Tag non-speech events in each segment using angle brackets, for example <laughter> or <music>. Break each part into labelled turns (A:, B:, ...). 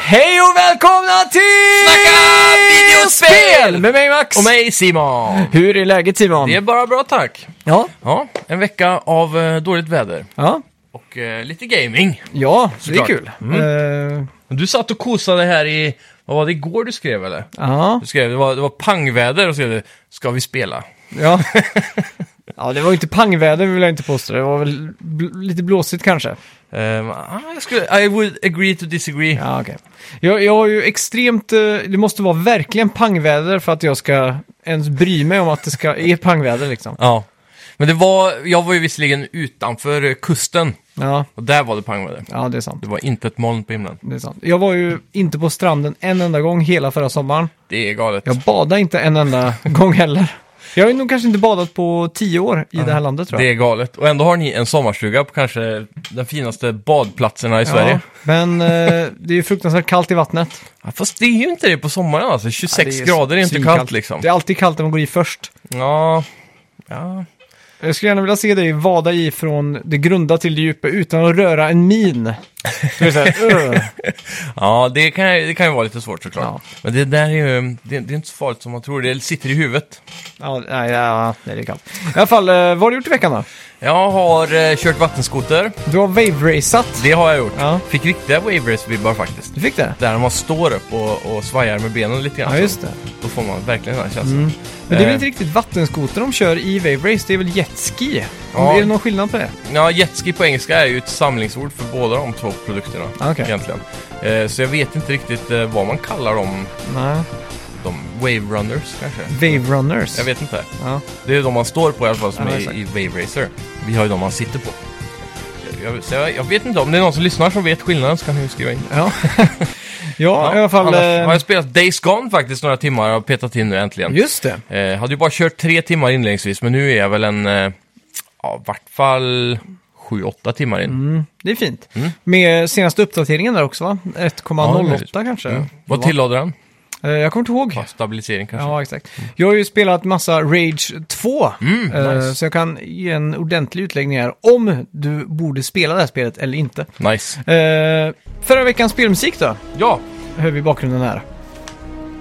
A: Hej och välkomna till
B: Snacka videospel!
A: med mig Max.
B: Och mig Simon!
A: Hur är läget Simon?
B: Det är bara bra tack!
A: Ja,
B: Ja, en vecka av eh, dåligt väder
A: ja,
B: och eh, lite gaming.
A: ja det är
B: Såklart.
A: kul. Eh,
B: Du satt och kosade här i, vad var det igår du skrev eller?
A: ja,
B: Du skrev, det var, det var pangväder och så skrev du, ska vi spela?
A: ja. <laughs> ja, det var ju inte pangväder vill jag inte påstå. Det var väl bl- lite blåsigt kanske.
B: Ehm, ah, jag skulle, I would agree to disagree.
A: Ja, okej. Jag, jag har ju extremt, eh, det måste vara verkligen pangväder för att jag ska ens bry mig om att det ska, är pangväder liksom.
B: Ja. Men det var, jag var ju visserligen utanför eh, kusten
A: Ja,
B: och där var det pangväder.
A: ja det är sant.
B: Det var inte ett moln på himlen.
A: Det är sant. Jag var ju inte på stranden en enda gång hela förra sommaren.
B: Det är galet.
A: Jag badade inte en
B: <laughs>
A: enda gång heller. Jag har ju nog kanske inte badat på tio år i det här landet tror
B: Det
A: jag.
B: är galet. Och ändå har ni en sommarstuga på kanske den finaste badplatserna i
A: Ja,
B: Sverige.
A: men eh, det är ju fruktansvärt kallt i vattnet.
B: Ja, fast det är ju inte det på sommaren alltså. 26
A: Ja, det
B: grader är inte
A: svinkallt.
B: kallt liksom.
A: Det är alltid kallt när man går i först.
B: Ja, ja.
A: Jag skulle gärna vilja se dig vada i från det grunda till det djupa utan att röra en min. Det är så
B: <laughs>
A: här, "Ugh."
B: ja det, kan, ju- det kan ju vara lite svårt såklart.
A: Ja.
B: Men det där är ju, det, det är inte så farligt som man tror. Det sitter i huvudet.
A: ja, nej, ja, nej, det är kallt. I alla fall, eh, vad har du gjort i veckan då?
B: Jag har eh, kört vattenskoter.
A: Du har wave-raceat.
B: Det har jag gjort.
A: Ja.
B: Fick riktiga wave race vibbar faktiskt.
A: Du fick det?
B: Där man står upp och, och svajar med benen lite grann.
A: Ja, just det. Mm.
B: Då får man verkligen den här känslan.
A: Men det är väl
B: Alltså, Eh.
A: inte riktigt vattenskoter de kör i wave race, det är väl jetski?
B: Ja.
A: Är det någon skillnad på det?
B: Ja, jetski på engelska är ju ett samlingsord för båda de två produkterna.
A: Ah, okej.
B: Egentligen. Eh, så jag vet inte riktigt eh, vad man kallar dem.
A: Nej.
B: De wave runners kanske?
A: Wave runners.
B: Jag vet inte.
A: Ja.
B: Det är de man står på i alla fall som
A: Ja,
B: är
A: exakt.
B: i Wave Racer. Vi har ju de man sitter på. Jag, så jag, jag vet inte, om det är någon som lyssnar som vet skillnaden så kan ni ju skriva in.
A: Ja. <laughs> ja, i alla fall.
B: annars har
A: Eh,
B: jag spelat Days Gone faktiskt några timmar och petat in nu äntligen.
A: just det.
B: Eh, hade ju bara kört tre timmar inledningsvis men nu är jag väl en, eh, ja i vart fall sju, åtta timmar
A: Mm.
B: in.
A: Det är fint.
B: Mm.
A: Med senaste uppdateringen där också va? 1,08
B: Ja,
A: kanske.
B: Mm. Vad
A: Det var.
B: tillade den?
A: Eh, Jag kommer inte ihåg.
B: Ja, stabilisering kanske.
A: Ja, exakt. Jag har ju spelat massa Rage 2.
B: Mm,
A: eh,
B: nice.
A: Så jag kan ge en ordentlig utläggning här om du borde spela det här spelet eller inte.
B: Nice.
A: Eh, Förra veckans spelmusik då?
B: Ja,
A: Hör vi i bakgrunden här.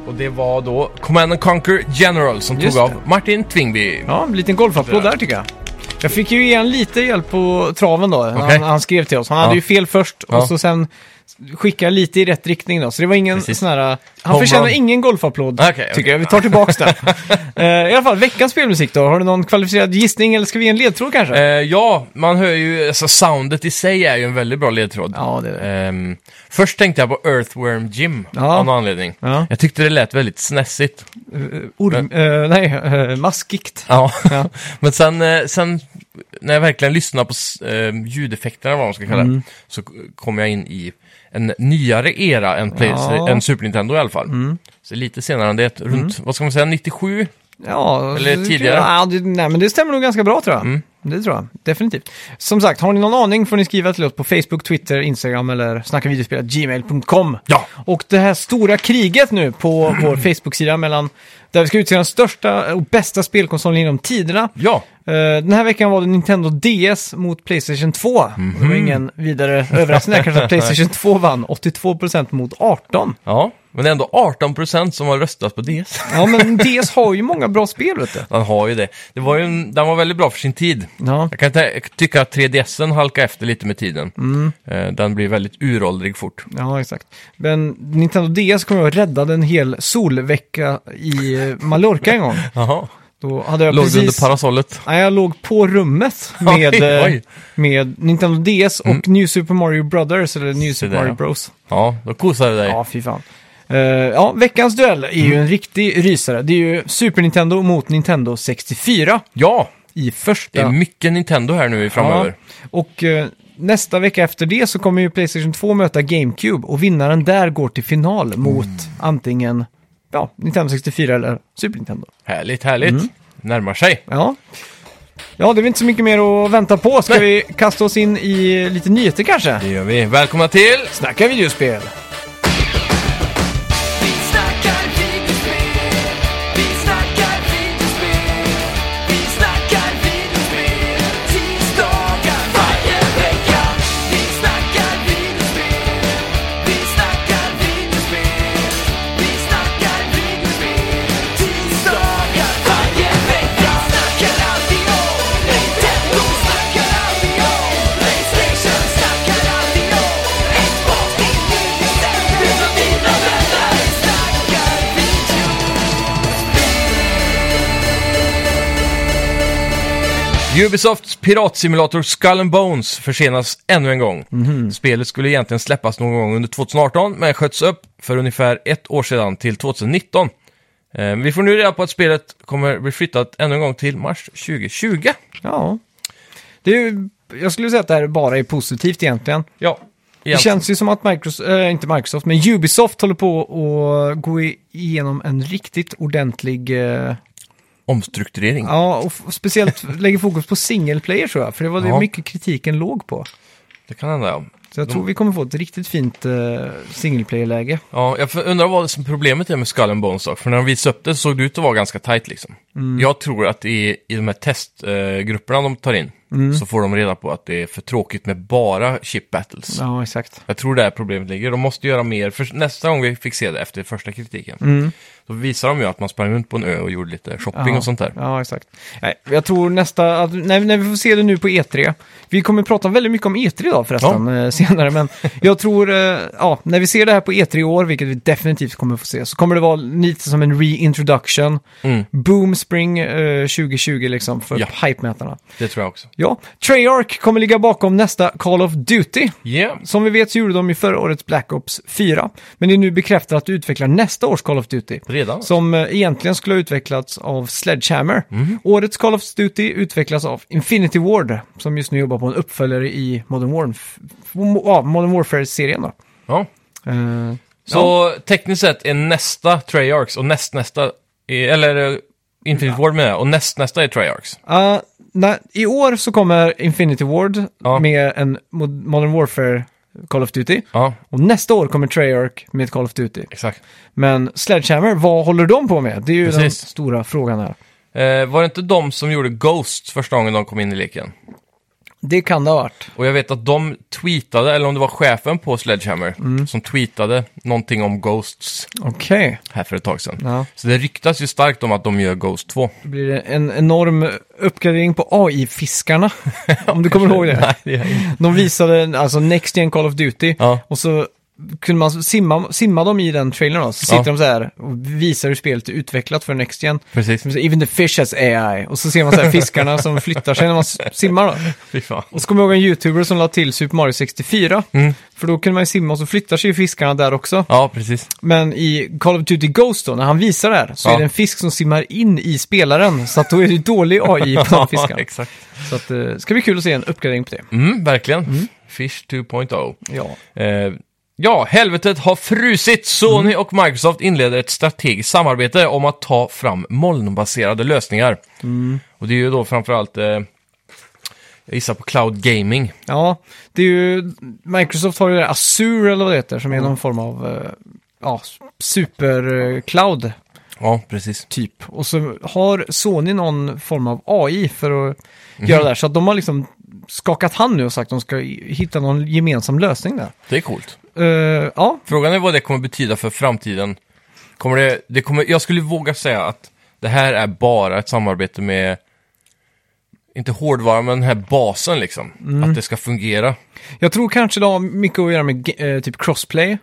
B: och det var då Command and Conquer General som
A: Just
B: tog
A: det.
B: av Martin Tvingby.
A: Ja, en liten golfapplåd där tycker jag. Jag fick ju igen lite hjälp på traven då, när
B: Okej.
A: han, han skrev till oss. Han hade
B: Ja.
A: ju fel först och
B: Ja.
A: så sen skickade jag lite i rätt riktning då. Så det var ingen
B: Precis.
A: sån här... Han
B: Home
A: förtjänar
B: run.
A: ingen golfapplåd,
B: Okej, okej.
A: tycker jag. Vi tar tillbaks
B: <laughs>
A: den. Eh, I alla fall, veckans spelmusik då. Har du någon kvalificerad gissning eller ska vi ge en ledtråd kanske?
B: Eh, ja, man hör ju, alltså soundet i sig är ju en väldigt bra ledtråd.
A: Ja, det är det.
B: Ehm, först tänkte jag på Earthworm Jim
A: Ja.
B: av någon anledning.
A: Ja.
B: Jag tyckte det lät väldigt snässigt.
A: Eh, Orm... eh, nej, eh, maskigt.
B: Ja.
A: Ja.
B: <laughs> Men sen, eh, sen när jag verkligen lyssnade på s- ehm, ljudeffekterna, vad man ska kalla
A: Mm.
B: det, så k- kom jag in i en nyare era än, Play-
A: Ja. Mm.
B: än Super Nintendo i alla fall. Så lite senare än det, runt, vad ska man säga, 97?
A: Ja,
B: Eller
A: så-
B: tidigare. Mm.
A: Ja, det, nej, men det stämmer nog ganska bra tror jag. Det tror jag, definitivt. Som sagt, har ni någon aning får ni skriva till oss på Facebook, Twitter, Instagram eller snackavideospelat.gmail.com.
B: Ja.
A: Och det här stora kriget nu
B: <clears throat>
A: på vår Facebook-sida mellan där vi ska utse den största och bästa spelkonsolen genom tiderna.
B: Ja.
A: Eh, Den här veckan var det Nintendo DS mot Playstation 2. Och Det var
B: Mhm.
A: ingen vidare överraskning där kanske att Playstation 2 vann 82% mot 18%.
B: <laughs> Ja, men det är ändå 18% som har röstat på DS.
A: Ja men DS har ju många bra spel vet du.
B: Den har ju det. det var ju en, den var väldigt bra för sin tid.
A: Ja,
B: Jag kan tä- tycka att 3DSen halkar efter lite med tiden. Eh, Den blir väldigt uråldrig fort.
A: ja exakt. Men Nintendo DS kommer jag att rädda en hel solvecka i eh, Mallorca en gång.
B: Jaha.
A: Då hade jag
B: Låg du under
A: precis...
B: parasollet?
A: Nej, jag låg på rummet med,
B: <laughs> Oj,
A: eh,
B: oj. Mm.
A: med Nintendo DS och New Super Mario Brothers, eller New Super
B: där,
A: Mario
B: ja.
A: Bros.
B: Ja, då kosade du dig.
A: Ja, fy fan. Eh, ja, veckans duell är ju
B: Mm.
A: en riktig rysare. Det är ju Super Nintendo mot Nintendo 64
B: Ja,
A: i
B: det är
A: första.
B: mycket Nintendo här nu i framöver.
A: Ja, och eh, nästa vecka efter det så kommer ju Playstation 2 möta GameCube och vinnaren där går till final mot
B: Mm.
A: antingen ja, Nintendo 64 eller Super Nintendo.
B: Härligt, härligt. Närmar sig.
A: Ja. ja, det är väl inte så mycket mer att vänta på. Ska
B: Nej.
A: vi kasta oss in i lite nyheter kanske?
B: Det gör vi. Välkomna till...
A: Snacka videospel!
C: Vi snackar videospel, vi snackar videospel, vi snackar videospel, tisdagar varje vecka. Vi snackar videospel, vi snackar videospel,
B: Ubisofts piratsimulator Skull and Bones försenas ännu en gång. Spelet skulle egentligen släppas någon gång under 2018, men sköts upp för ungefär ett år sedan till 2019. Eh, vi får nu reda på att spelet kommer bli flyttat ännu en gång till mars 2020.
A: Ja. Det är ju, jag skulle säga att det här bara är positivt egentligen.
B: Ja,
A: Det
B: egentligen.
A: känns ju som att Microsoft, äh, inte Microsoft, men Ubisoft håller på att gå i- igenom en riktigt ordentlig, eh,
B: omstrukturering.
A: ja, och f- speciellt <laughs> lägger fokus på single player tror jag, för det var det
B: Ja.
A: mycket kritiken låg på.
B: Det kan hända, ja.
A: Så jag tror vi kommer få ett riktigt fint eh, single player-läge.
B: Ja, jag för- undrar vad som problemet är med Skull and Bones dock, för när de visade upp det så såg det ut att vara ganska tight liksom.
A: Mm.
B: Jag tror att i, i de här testgrupperna de tar in
A: Mm.
B: så får de reda på att det är för tråkigt med bara chip battles.
A: Ja, exakt.
B: Jag tror där problemet ligger. De måste göra mer, för nästa gång vi fick se det efter första kritiken, då visar de ju att man sprang runt på en ö och gjorde lite shopping
A: Mm. Ja.
B: och sånt där.
A: Ja, exakt. Nej, jag tror nästa, att, när, när vi får se det nu på E3, vi kommer prata väldigt mycket om E3 idag förresten, eh, senare, men jag tror, eh, ja, när vi ser det här på E3 i år, vilket vi definitivt kommer få se, så kommer det vara lite som en reintroduction,
B: Mm,
A: boom spring eh, 2020 liksom, för
B: Ja.
A: hype-mätarna.
B: det tror jag också.
A: Ja, Treyarch kommer ligga bakom nästa Call of Duty.
B: Yeah.
A: Som vi vet så gjorde de i förra årets Black Ops 4, men det är nu bekräftat att du utvecklar nästa års Call of Duty.
B: Redan?
A: Som eh, egentligen skulle ha utvecklats av Sledgehammer. Årets Call of Duty utvecklas av Infinity Ward, som just nu jobbar på en uppföljare i Modern, Warf- Mo- ja, Modern Warfare-serien. Då.
B: Ja.
A: Eh,
B: Så tekniskt sett är nästa Treyarchs och nästnästa, är- eller eh, Infinite Ward med och nästnästa är Treyarchs.
A: ja, Ah, nej, I år så kommer Infinity Ward
B: Ja.
A: med en Mod- Modern Warfare Call of Duty.
B: Ja,
A: Och nästa år kommer Treyarch med ett Call of Duty.
B: exakt.
A: Men Sledgehammer, vad håller de på med? Det är ju den
B: Precis.
A: stora frågan här.
B: Eh, var det inte de som gjorde Ghost första gången de kom in i leken?
A: Det kan det ha varit.
B: Och jag vet att de tweetade, eller om det var chefen på Sledgehammer, som tweetade någonting om Ghosts
A: Okej.
B: här för ett tag sedan.
A: Ja.
B: Så det ryktas ju starkt om att de gör Ghost 2.
A: Då blir det en enorm uppgradering på AI-fiskarna. <laughs> om du kommer ihåg det.
B: <laughs> Nej, det är inte.
A: De visade alltså Next Gen Call of Duty.
B: Ja.
A: Och så kunde man simma, simma dem i den trailern då. Så sitter
B: Ja.
A: de så här och visar hur spelet är utvecklat för Next Gen.
B: Precis.
A: Så Even the fish has AI. Och så ser man så här fiskarna som flyttar sig när man s- simmar då.
B: Fy fan.
A: Och så kommer jag ihåg en YouTuber som la till Super Mario 64.
B: Mm.
A: För då kunde man ju simma och så flyttar sig ju fiskarna där också.
B: Ja, precis.
A: Men i Call of Duty Ghost då, när han visar det här, så
B: Ja.
A: är det en fisk som simmar in i spelaren. Så att då är det dålig
B: <laughs>
A: AI på de
B: Ja,
A: fiskarna.
B: exakt.
A: Så att, eh, ska bli kul att se en uppgradering på det.
B: Mm, verkligen. Fish 2.0.
A: Ja.
B: Eh, ja, helvetet har frusit. Sony
A: Mm.
B: och Microsoft inleder ett strategiskt samarbete om att ta fram molnbaserade lösningar.
A: Mm.
B: Och det är ju då framförallt, eh, jag gissar på cloud gaming.
A: ja, det är ju, Microsoft har ju det här Azure eller vad det heter, som
B: Mm.
A: är någon form av eh, ja, supercloud
B: Ja, precis.
A: typ. Och så har Sony någon form av AI för att
B: Mm.
A: göra det här. Så att de har liksom skakat hand nu och sagt att de ska i- hitta någon gemensam lösning där.
B: Det är coolt.
A: Eh, ja,
B: Frågan är vad det kommer betyda för framtiden. Kommer det, det kommer, jag skulle våga säga att det här är bara ett samarbete med, inte hårdvara, men den här basen liksom.
A: Mm.
B: Att det ska fungera.
A: Jag tror kanske det har mycket att göra med eh, typ crossplay.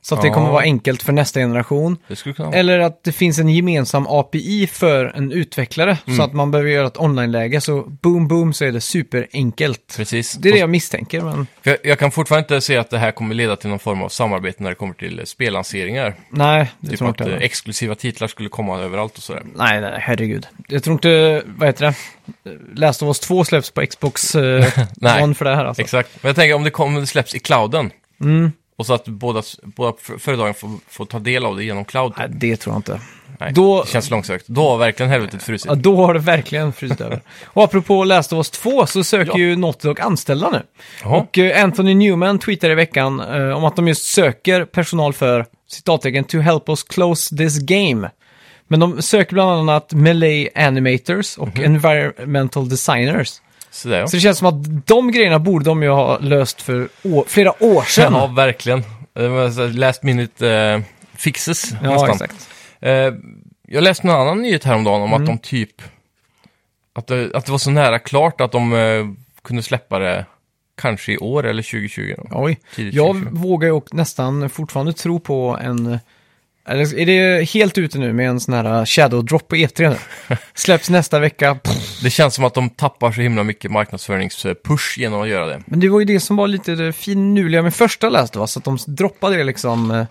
A: Så att det
B: Ja.
A: kommer vara enkelt för nästa generation.
B: Det skulle kunna vara.
A: Eller att det finns en gemensam API för en utvecklare.
B: Mm.
A: Så att man behöver göra ett online-läge. Så boom, boom så är det superenkelt.
B: Precis.
A: Det är det jag misstänker. Men
B: För jag, jag kan fortfarande inte se att det här kommer leda till någon form av samarbete när det kommer till eh, spellanseringar.
A: nej, det
B: Typ
A: tror jag
B: att
A: inte.
B: eh,
A: heller.
B: exklusiva titlar skulle komma överallt och sådär.
A: Nej, nej, nej, herregud. Jag tror inte, vad heter det? Last of Us 2 släpps på Xbox eh,
B: <laughs> Nej.
A: One för det här alltså.
B: Exakt. Men jag tänker om det, kommer, det släpps i clouden.
A: Mm.
B: Och så att båda, båda f- företagen får, får ta del av det genom cloud.
A: nej, det tror jag inte.
B: Nej,
A: då-
B: Det känns långsökt. Då har verkligen helvetet frusit.
A: Ja, då har det verkligen frysit över. Och apropå Last of Us 2 så söker
B: Ja.
A: ju Naughty Dog anställda nu.
B: Jaha.
A: Och eh, Anthony Newman tweetade i veckan eh, om att de just söker personal för citattecken to help us close this game. Men de söker bland annat melee animators och environmental designers.
B: Sådär, Mhm. ja.
A: Så det känns som att de grejerna borde de ju ha löst för å- flera år sedan.
B: ja, verkligen. Det var så här Last minute eh, fixes
A: <laughs> Ja,
B: nästan.
A: exakt.
B: Eh, jag läste någon annan nyhet häromdagen om att de typ... Att det, att det var så nära klart att de eh, kunde släppa det kanske i år eller 2020. då.
A: Oj.
B: Tidigt
A: Jag
B: 2020.
A: vågar ju och- nästan fortfarande tro på en Eller är det helt ute nu med en sån här shadow drop på E3
B: <laughs>
A: nu? Släpps nästa vecka. Pff.
B: Det känns som att de tappar så himla mycket marknadsföringspush genom att göra det.
A: Men det var ju det som var lite eh, det finurliga med första Last of Us, att de droppade det liksom eh,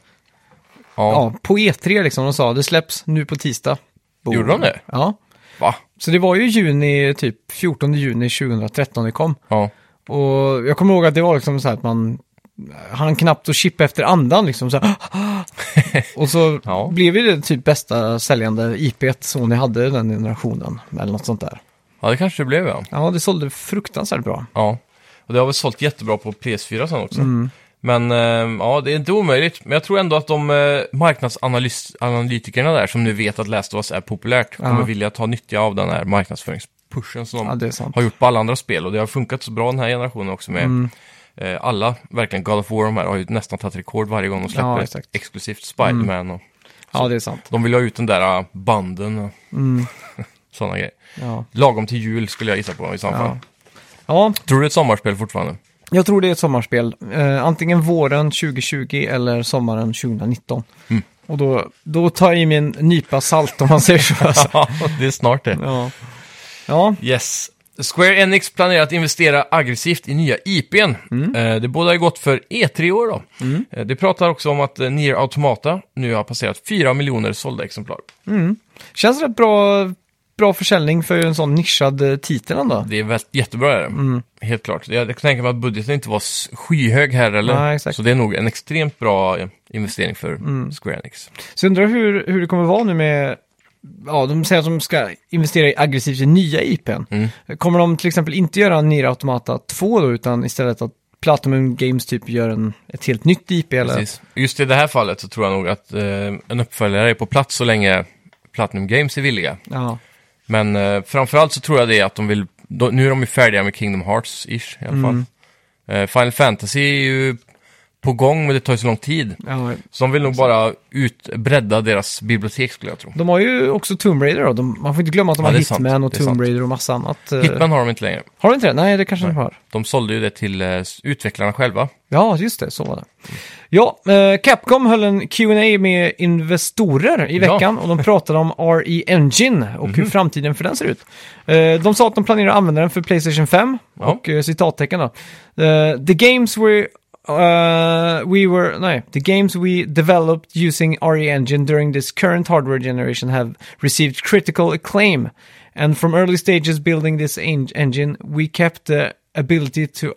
B: Ja,
A: ja, på E3 liksom. De sa det släpps nu på tisdag. Boom.
B: Gjorde de det?
A: Ja.
B: va?
A: Så det var ju juni, typ 14 juni 2013 det kom.
B: Ja,
A: Och jag kommer ihåg att det var liksom så här att man han knappt att chippa efter andan liksom. Så här, <gasps> och så
B: Ja.
A: blev ju det typ bästa säljande IP Sony hade den generationen. Eller något sånt där.
B: ja det kanske det blev ja.
A: Ja, det sålde fruktansvärt bra.
B: ja. Och det har väl sålt jättebra på PS4 sen också.
A: Mm.
B: Men eh, ja, det är inte omöjligt. Men jag tror ändå att de eh, marknadsanalytikerna där som nu vet att Last of Us är populärt kommer vilja ta nytta av den här marknadsföringspushen som de
A: Ja, det är sant. Mm.
B: har gjort på alla andra spel. Och det har funkat så bra den här generationen också med eh, alla, verkligen God of War de här har ju nästan tagit rekord varje gång de släpper
A: Ja,
B: ett
A: exakt. Mm.
B: exklusivt Spiderman. Och
A: Ja, det är sant.
B: de vill ha ut den där eh, banden och
A: Mm.
B: <laughs> sådana grejer.
A: Ja.
B: Lagom till jul skulle jag gissa på i så fall.
A: Ja. ja,
B: Tror du det är ett sommarspel fortfarande?
A: jag tror det är ett sommarspel. Eh, antingen våren 2020 eller sommaren 2019.
B: Mm.
A: Och då, då tar jag i min nypa salt om man säger så. Alltså.
B: <laughs> Ja, det är snart det.
A: Ja. ja,
B: Yes. Square Enix planerar att investera aggressivt i nya IPn.
A: Mm.
B: Eh, Det båda har gått för E3 år då. Eh, Det pratar också om att eh, Nier Automata nu har passerat 4 miljoner sålda exemplar.
A: känns rätt bra, bra försäljning för en sån nischad eh, titel ändå.
B: Det är väl jättebra är det.
A: Mm.
B: Helt klart. Jag jag kan tänka mig att budgeten inte var s- skyhög här eller.
A: Nej, exakt. Mm.
B: Så det är nog en extremt bra eh, investering för Square Enix.
A: Så jag undrar hur, hur det kommer vara nu med, ja de säger att de ska investera i aggressivt i nya IPn.
B: Mm.
A: Kommer de till exempel inte göra Nier Automata 2 då, utan istället att Platinum Games typ gör en, ett helt nytt IP eller?
B: Precis. Just i det här fallet så tror jag nog att eh, en uppföljare är på plats så länge Platinum Games är villiga.
A: Ja.
B: Men eh, framförallt så tror jag det är att de vill, då- nu är de ju färdiga med Kingdom Hearts-ish i alla fall. Eh, Final Fantasy är ju på gång men det tar ju så lång tid.
A: ja.
B: Så de vill nog bara ut, bredda deras bibliotek skulle jag tro.
A: De har ju också Tomb Raider då, de, man får inte glömma att de
B: Ja,
A: har
B: det är
A: Hitman
B: sant.
A: och
B: Det är
A: Tomb
B: sant.
A: Raider och massa annat. eh.
B: Hitman har de inte längre.
A: Har de inte det? Nej, det kanske de har.
B: De sålde ju det till eh, s- utvecklarna själva.
A: Ja, just det, så var det. Ja, eh, Capcom höll en Q&A med investorer i
B: Ja. Mhm.
A: veckan och de pratade om RE Engine och hur framtiden för den ser ut. Eh, de sa att de planerar att använda den för Playstation 5
B: Ja.
A: och eh, citattecken då. Eh, the games were eh, we were, nej, the games we developed using RE Engine during this current hardware generation have received critical acclaim. And from early stages building this en- engine, we kept the ability to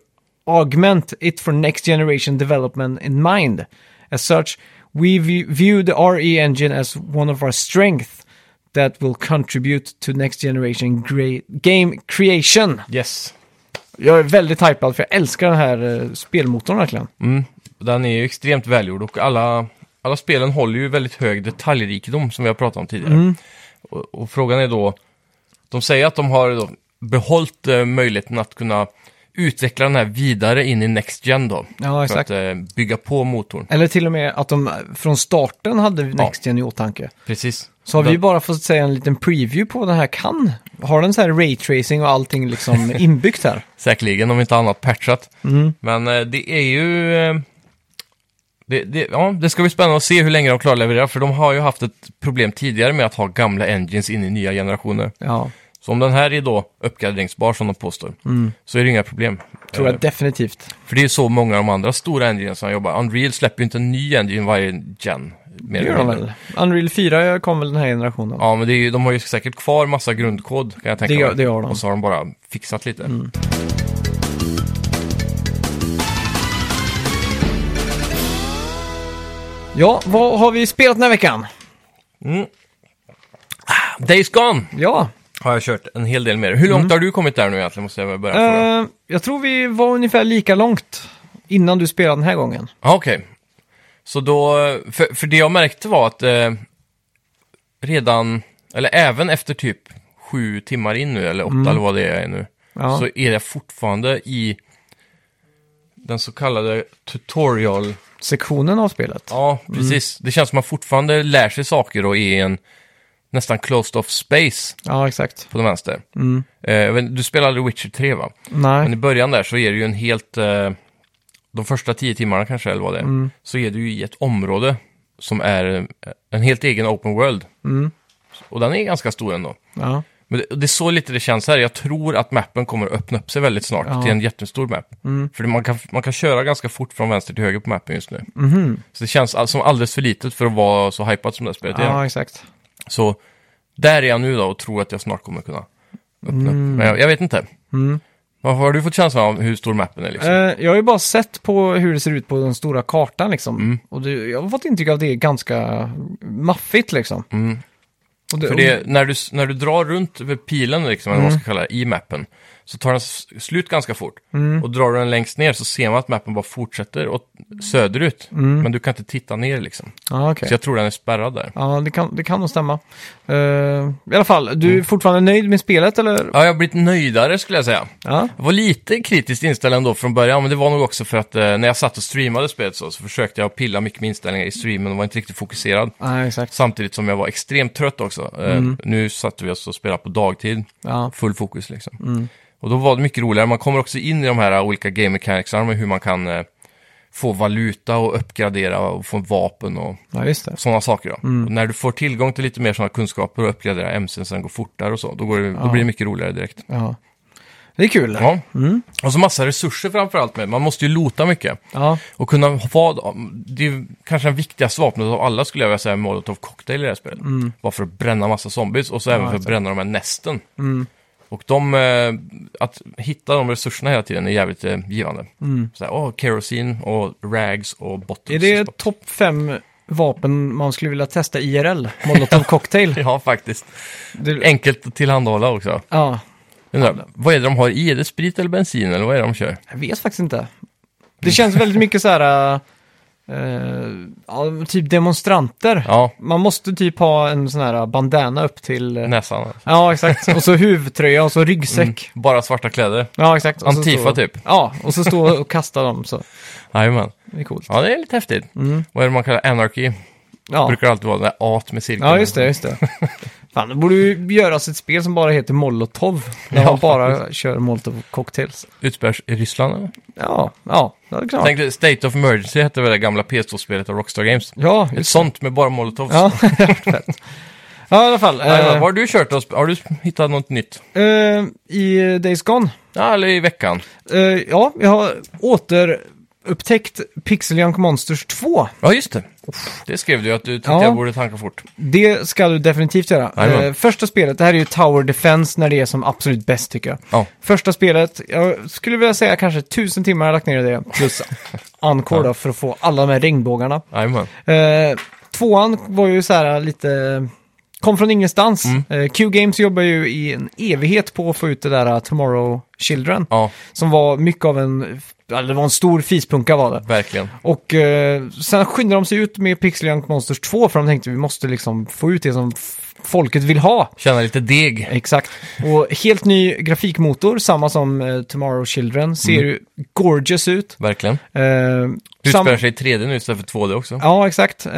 A: augment it for next generation development in mind. As such, we view, view the RE engine as one of our strengths that will contribute to next generation gra- game creation.
B: Yes.
A: Jag är väldigt hypad för jag älskar den här eh, spelmotorn verkligen.
B: Mm. Den är ju extremt välgjord och alla, alla spelen håller ju väldigt hög detaljrikedom som vi har pratat om tidigare.
A: Mm.
B: Och, och frågan är då, de säger att de har då behållit eh, möjligheten att kunna utveckla den här vidare in i Next Gen då.
A: Ja,
B: För
A: exakt.
B: att eh, bygga på motorn.
A: Eller till och med att de eh, från starten hade Next Gen i åtanke.
B: Precis.
A: Så har vi
B: Den-
A: ju bara fått säga en liten preview på vad den här kan. Har den så här raytracing och allting
B: <laughs>
A: liksom inbyggt här?
B: Säkerligen, om inte annat patchat.
A: Mm.
B: Men eh, det är ju... eh, Det, det, ja, det ska bli spännande att se hur länge de klarar att leverera, för de har ju haft ett problem tidigare med att ha gamla engines in i nya generationer.
A: Ja,
B: Så om den här är då uppgraderingsbar som de påstår,
A: Mm.
B: så är det inga problem.
A: tror
B: Eh,
A: jag definitivt.
B: För det är så många av de andra stora enginesen jobbar. Unreal släpper ju inte en ny engine varje gen. mer
A: Det
B: eller
A: gör de
B: mindre.
A: väl? Unreal 4 kom väl den här generationen?
B: Ja, men det är ju, de har ju säkert kvar massa grundkod kan jag tänka
A: Det gör-
B: mig.
A: det har de. Mm.
B: Och så har de bara fixat lite.
A: Ja, vad har vi spelat den här veckan?
B: Days Gone
A: Ja,
B: har jag kört en hel del mer. Hur långt har du kommit där nu egentligen? Måste jag väl börja fråga.
A: Mm. eh, jag tror vi var ungefär lika långt innan du spelade den här gången.
B: Ja, Ah, okej. Så då, för, för det jag märkte var att eh, redan, eller även efter typ sju timmar in nu, eller åtta
A: Mm.
B: eller vad det är nu,
A: Ja.
B: så är jag fortfarande i den så kallade tutorial.
A: Sektionen av spelet.
B: Ja, precis. Det känns som att man fortfarande lär sig saker och är i en nästan closed off space
A: Ja, exakt.
B: på den vänster. Eh, jag vet inte, du spelade aldrig Witcher 3 va? Men i
A: Mm. Nej,
B: början där så är det ju en
A: Mm.
B: helt, eh, de första tio timmarna kanske eller vad det är, så är du ju i ett område som är eh, en helt egen open world.
A: Mm.
B: Och den är ganska stor ändå.
A: Ja.
B: Men det, och det är så lite det känns här. Jag tror att mappen kommer att öppna upp sig väldigt snart
A: Ja. Mm.
B: till en jättestor map. För det- man kan, man kan köra ganska fort från vänster till höger på mappen just nu.
A: Mhm.
B: Så det känns all, som alldeles för litet för att vara så hypat som det här spelet är.
A: ja, exakt.
B: Så där är jag nu då och tror att jag snart kommer kunna öppna
A: Mm.
B: upp. Men jag, jag vet inte. Vad har du fått känslan av hur stor mappen är? Liksom?
A: Eh, jag har ju bara sett på hur det ser ut på den stora kartan liksom.
B: Mm.
A: Och det, jag har fått intryck av att det är ganska maffigt liksom. Och det,
B: Mm. För det, när, du, när du drar runt över pilen, liksom, eller vad man ska kalla det, i mappen, så tar den s- slut ganska fort. Och drar du den längst ner så ser man att mappen bara fortsätter åt söderut. Men du kan inte titta ner liksom.
A: Ja, okej.
B: Så jag tror den är spärrad där.
A: Ja, det kan, det kan nog stämma. Eh, I alla fall,
B: Mm.
A: du är fortfarande nöjd med spelet eller?
B: Ja, jag har blivit nöjdare skulle jag säga.
A: Ja.
B: Jag var lite kritiskt inställd ändå från början, men det var nog också för att eh, när jag satt och streamade spelet så, så försökte jag pilla mycket med inställningar i streamen och var inte riktigt fokuserad.
A: Nej, exakt.
B: Samtidigt som jag var extremt trött också. Eh, Nu satt vi oss och spelade på dagtid.
A: Ja.
B: Full fokus liksom. Och då var det mycket roligare. Man kommer också in i de här olika game mechanicsarna med hur man kan eh, få valuta och uppgradera och få vapen och
A: ja, just det.
B: sådana saker. Då. Och när du får tillgång till lite mer sådana kunskaper och uppgradera MCn så den går fortare och så, då, går det, då blir det mycket roligare direkt.
A: Ja. Det är kul.
B: Ja. Och så massa resurser framförallt med. Man måste ju lota mycket.
A: Ja,
B: Och kunna vara, det är ju kanske den viktigaste vapnet av alla skulle jag vilja säga, Molotov Cocktail i det här spelet. Var för att bränna massa zombies och så även för att
A: Mm. exakt. Mm.
B: bränna de här nästen. Och de, eh, att hitta de resurserna hela tiden är jävligt eh, givande. Så här, åh, kerosin och rags och bottles.
A: Mm. är
B: och
A: det
B: stopp.
A: topp fem vapen man skulle vilja testa IRL? Molotov
B: <laughs>
A: cocktail?
B: <laughs> Ja, faktiskt.
A: Det-
B: Enkelt att tillhandahålla också.
A: ja,
B: Undrar, vad är det de har i? Är det sprit eller bensin eller vad är det de kör?
A: jag vet faktiskt inte. Det känns väldigt mycket så här, eh, ja, typ demonstranter.
B: Ja,
A: Man måste typ ha en sån här bandana upp till... eh,
B: näsan.
A: Ja, exakt. Och så huvudtröja och så ryggsäck.
B: Bara svarta kläder.
A: Ja, exakt. Och så
B: Mm. Antifa,
A: stå-
B: typ.
A: Ja, och så stå och kasta dem så.
B: Jajamän.
A: Det är coolt.
B: Ja, det är lite häftigt.
A: Mm.
B: Vad är det man kallar anarchy?
A: Ja,
B: Brukar alltid vara den där at med cirkeln.
A: ja just det, just det. Fan, det borde ju göras ett spel som bara heter Molotov. Där
B: Ja,
A: man bara kör Molotov Cocktails.
B: Utspelas i Ryssland eller?
A: Ja, ja, det hade kunnat vara.
B: Tänk dig, State of Emergency hette väl det gamla PS2-spelet av Rockstar Games.
A: Ja,
B: Ett
A: just
B: sånt med bara molotovs.
A: Ja, <laughs> fett. Ja, i alla fall.
B: Jajamän.
A: Eh,
B: Vad har du kört då? Sp- Har du hittat något nytt?
A: eh, I Days Gone.
B: Ja, eller i veckan?
A: Eh, ja, jag har återupptäckt Pixel Junk Monsters 2.
B: Ja, just det. Det skrev du ju att du tyckte
A: Ja.
B: jag borde tanka fort.
A: Det ska du definitivt göra.
B: Jajamän.
A: Eh, första spelet, det här är ju Tower Defense när det är som absolut bäst tycker jag.
B: Ja.
A: Första spelet, jag skulle vilja säga kanske tusen timmar har jag lagt ner i det, plus encore då, för att få alla de här regnbågarna.
B: Jajamän.
A: Eh, tvåan var ju så här lite, kom från ingenstans. Eh, Q-Games jobbar ju i en evighet på att få ut det där eh, Tomorrow Children,
B: Ja,
A: som var mycket av en, eller det var en stor fispunka var det.
B: verkligen.
A: Och eh, sen skyndade de sig ut med Pixel Junk Monsters 2 för de tänkte vi måste liksom få ut det som f- folket vill ha.
B: Känna lite deg.
A: Exakt. Och helt ny grafikmotor, samma som eh, Tomorrow Children. Ser ju gorgeous ut.
B: Verkligen.
A: Eh,
B: Det
A: sam-
B: utspelar sig i 3D nu istället för 2D också.
A: Ja, exakt. Eh,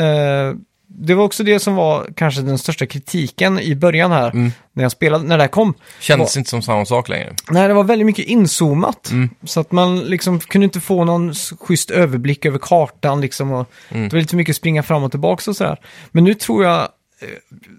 A: det var också det som var kanske den största kritiken i början här, när jag spelade, när det här kom.
B: Kändes inte som samma sak längre.
A: Nej, det var väldigt mycket inzoomat.
B: Mm.
A: Så att man liksom kunde inte få någon s- schysst överblick över kartan liksom. Och
B: Mm.
A: Det var lite mycket springa fram och tillbaka och sådär. Men nu tror jag, eh,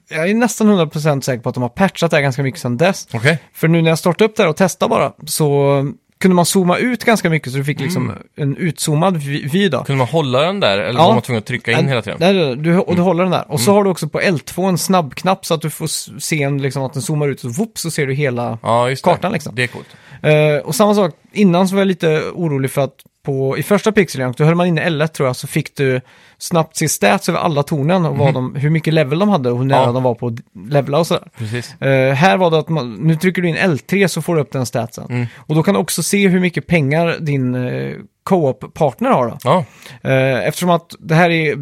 A: jag är nästan 100% säker på att de har patchat det här ganska mycket sedan dess.
B: Okej.
A: För nu när jag startade upp det här och testade bara så kunde man zooma ut ganska mycket så du fick liksom en utzoomad vy vy då.
B: Mm. Kunde man hålla den där eller
A: Ja.
B: var man tvungen att trycka in hela tiden? Mm.
A: Nej, nej, nej, du, och du håller den där. Och så har du också på L2 en snabbknapp så att du får s- se en, liksom, att den zoomar ut och så, whoops, så ser du hela
B: Ja, just
A: kartan
B: det.
A: liksom.
B: Det är coolt.
A: Eh, och samma sak, innan så var jag lite orolig för att på, i första pixeljank, då höll man inne L1 tror jag, så fick du snabbt se stats över alla tornen och vad de, hur mycket level de hade och hur nära
B: Mhm. Ja.
A: de var på att levla och sådär.
B: Precis.
A: Eh, här var det att man, nu trycker du in L3 så får du upp den statsen.
B: Mm.
A: Och då kan du också se hur mycket pengar din eh, co-op-partner har då.
B: Ja,
A: Eh, eftersom att det här är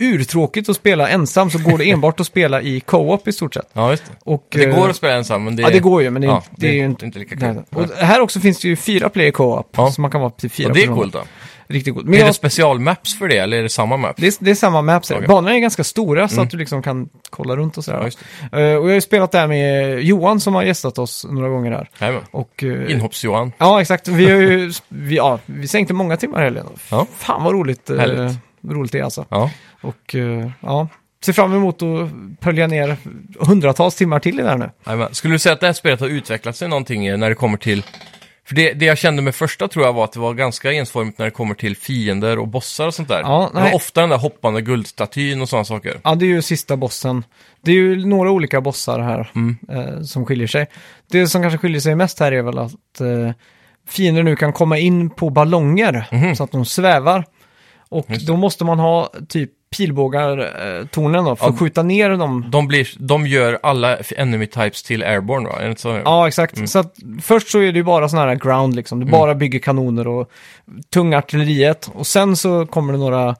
A: urtråkigt att spela ensam så
B: <laughs>
A: går det enbart att spela i co-op i stort sett.
B: ja just det.
A: Och,
B: Det
A: eh,
B: går att spela ensam, men det,
A: Ja, det går ju, men det är,
B: Ja,
A: inte- det är ju inte,
B: lika kul.
A: Nej. Och här också finns det ju fyra player co-op,
B: Ja.
A: så man kan vara till fyra
B: Och det är
A: personer.
B: coolt då.
A: Riktigt coolt. Men
B: är
A: jag,
B: det specialmaps för det, eller är det samma map?
A: det, är, det är samma maps.
B: Okej. Mm.
A: Okay. Banorna är ganska stora så att du liksom kan kolla runt och sådär.
B: Ja, just
A: Eh, och jag har ju spelat där med Johan som har gästat oss några gånger här.
B: Jajamän.
A: Och, eh,
B: Inhopps-Johan.
A: Ja, exakt. Vi, har ju, vi, ja, vi sänkte många timmar i helgen.
B: Ja.
A: Fan vad roligt. eh,
B: Härligt.
A: roligt det är alltså.
B: Ja.
A: Och eh, ja, ser fram emot att pölja ner hundratals timmar till i det här nu.
B: Jajamän. Skulle du säga att det här spelet har utvecklat sig någonting eh, när det kommer till... För det, det jag kände med första tror jag var att det var ganska ensformigt när det kommer till fiender och bossar och sånt där.
A: Ja,
B: det var
A: nej.
B: ofta den där hoppande guldstatyn och sådana saker.
A: Ja, det är ju sista bossen. Det är ju några olika bossar här eh, som skiljer sig. Det som kanske skiljer sig mest här är väl att eh, fiender nu kan komma in på ballonger så att de svävar. Och då måste man ha typ pilbågartornen då för att
B: Ja.
A: skjuta ner dem.
B: De, blir, de gör alla f- enemy types till airborne va? Är det inte så?
A: Ja, exakt. Så att först så är det ju bara sån här ground liksom. Du bara bygger kanoner och tung artilleriet. Och sen så kommer det några,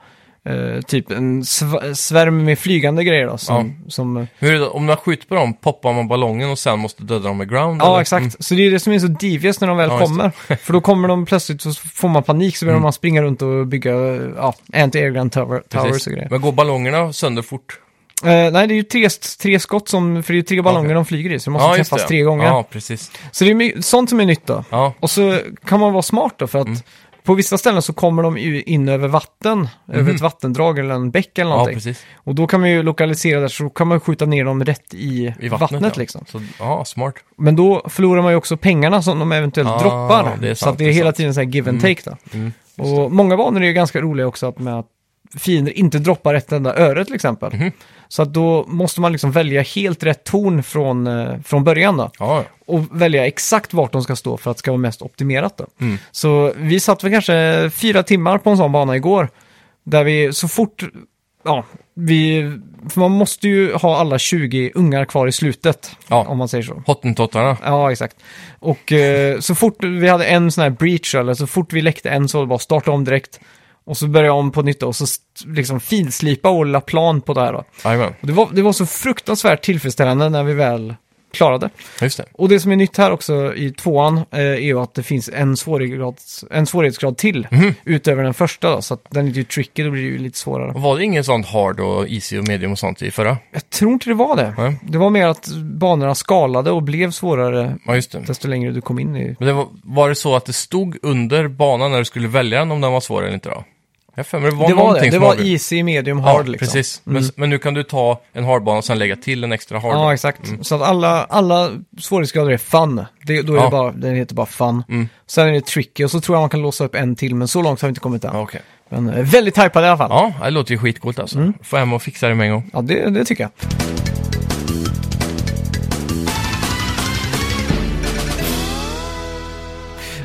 A: eh, typ en sv- svärm med flygande grejer då. Som, som
B: Hur är det, om man skjuter på dem, poppar man ballongen och sen måste döda dem med ground?
A: Ja,
B: eller? Mm.
A: exakt. Så det är det som är så devious när de väl
B: Ja, just Mm.
A: kommer.
B: <laughs>
A: För då kommer de plötsligt så får man panik så börjar man springa runt och bygga ja, anti-air gun tower,
B: Precis.
A: towers och grejer.
B: Men går ballongerna sönder fort?
A: Eh, nej, det är ju tre, tre skott som, för det är ju tre ballonger de flyger i så de måste
B: just
A: träffas
B: det.
A: tre gånger.
B: Ja, precis.
A: Så det är my- sånt som är nytt då.
B: Ja,
A: Och så kan man vara smart då för att
B: Mm.
A: på vissa ställen så kommer de ju in över vatten, över ett vattendrag eller en bäck eller
B: Mm. ja
A: någonting.
B: precis.
A: och då kan man ju lokalisera där så då kan man skjuta ner dem rätt i,
B: I vattnet,
A: vattnet,
B: ja.
A: liksom.
B: Så, ja, smart.
A: Men då förlorar man ju också pengarna som de eventuellt
B: Ah,
A: droppar.
B: det är sant,
A: så att det
B: det
A: är
B: är
A: hela
B: sant.
A: tiden så här give and take. Då.
B: Mm,
A: och många banor är ju ganska roliga också att med att fiender inte droppar ett enda öre till exempel.
B: Mhm.
A: Så att då måste man liksom välja helt rätt ton från, eh, från början då.
B: Ja, ja.
A: Och välja exakt vart de ska stå för att det ska vara mest optimerat då.
B: Mm.
A: Så vi satt väl kanske fyra timmar på en sån bana igår. Där vi så fort, ja, vi, för man måste ju ha alla 20 ungar kvar i slutet.
B: Ja.
A: Om man säger så.
B: Hottentottarna.
A: Ja, exakt. Och eh, så fort vi hade en sån här breach, eller så fort vi läckte en så var det bara starta om direkt. Och så började jag om på nytt då, och så st- liksom finslipa och la plan på det här då.
B: Jajamän,
A: Och det, var, det var så fruktansvärt tillfredsställande när vi väl klarade.
B: just det.
A: Och det som är nytt här också i tvåan eh, är ju att det finns en svårighetsgrad, en svårighetsgrad till utöver den första då, så att den är ju tricky, då blir det ju lite svårare.
B: Och Var det ingen sån hard och easy och medium och sånt i förra?
A: Jag tror inte det var det.
B: Nej.
A: Det var mer att banorna skalade och blev svårare
B: Ja, just det.
A: desto längre du kom in i
B: Men det var, var det så att det stod under banan när du skulle välja den om den var svår eller inte då? Jag har för mig det var
A: det var
B: någonting
A: det. Det
B: som
A: var
B: avgjorde.
A: easy, medium, hard
B: ja,
A: liksom.
B: precis. Men, men nu kan du ta en hardbana och sen lägga till en extra hard. Mm.
A: Ja, exakt. Så att alla, alla svårighetsgrader är fun. Det, då är
B: Ja. Mm.
A: det bara, den heter bara fun. Sen är det tricky och så tror jag man kan låsa upp en till, men så långt har vi inte kommit än.
B: Ja, okej.
A: Men eh, väldigt hypad i alla fall. Ja,
B: Ja, det låter ju skitcoolt alltså.
A: Mm.
B: Får hem och fixa det med en gång.
A: det, det tycker jag.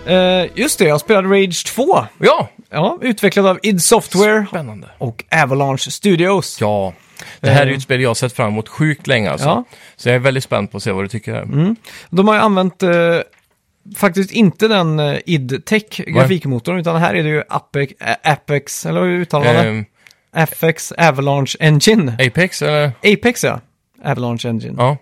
A: Eh, just det, jag spelade Rage 2.
B: Ja,
A: Ja, utvecklad av id Software
B: spännande.
A: och Avalanche Studios.
B: Ja, det här är ju
A: Eh.
B: ett spel jag har sett fram emot sjukt länge alltså.
A: Ja. Mm.
B: Så jag är väldigt spänd på att se vad du tycker. här.
A: De har ju använt eh, faktiskt inte den eh, id-tech grafikmotorn, utan här är det ju Apex, Ä- Apex eller hur uttalar man det?
B: Ehm,
A: Apex Avalanche Engine.
B: Apex eller?
A: Apex ja. Avalanche Engine. Ja.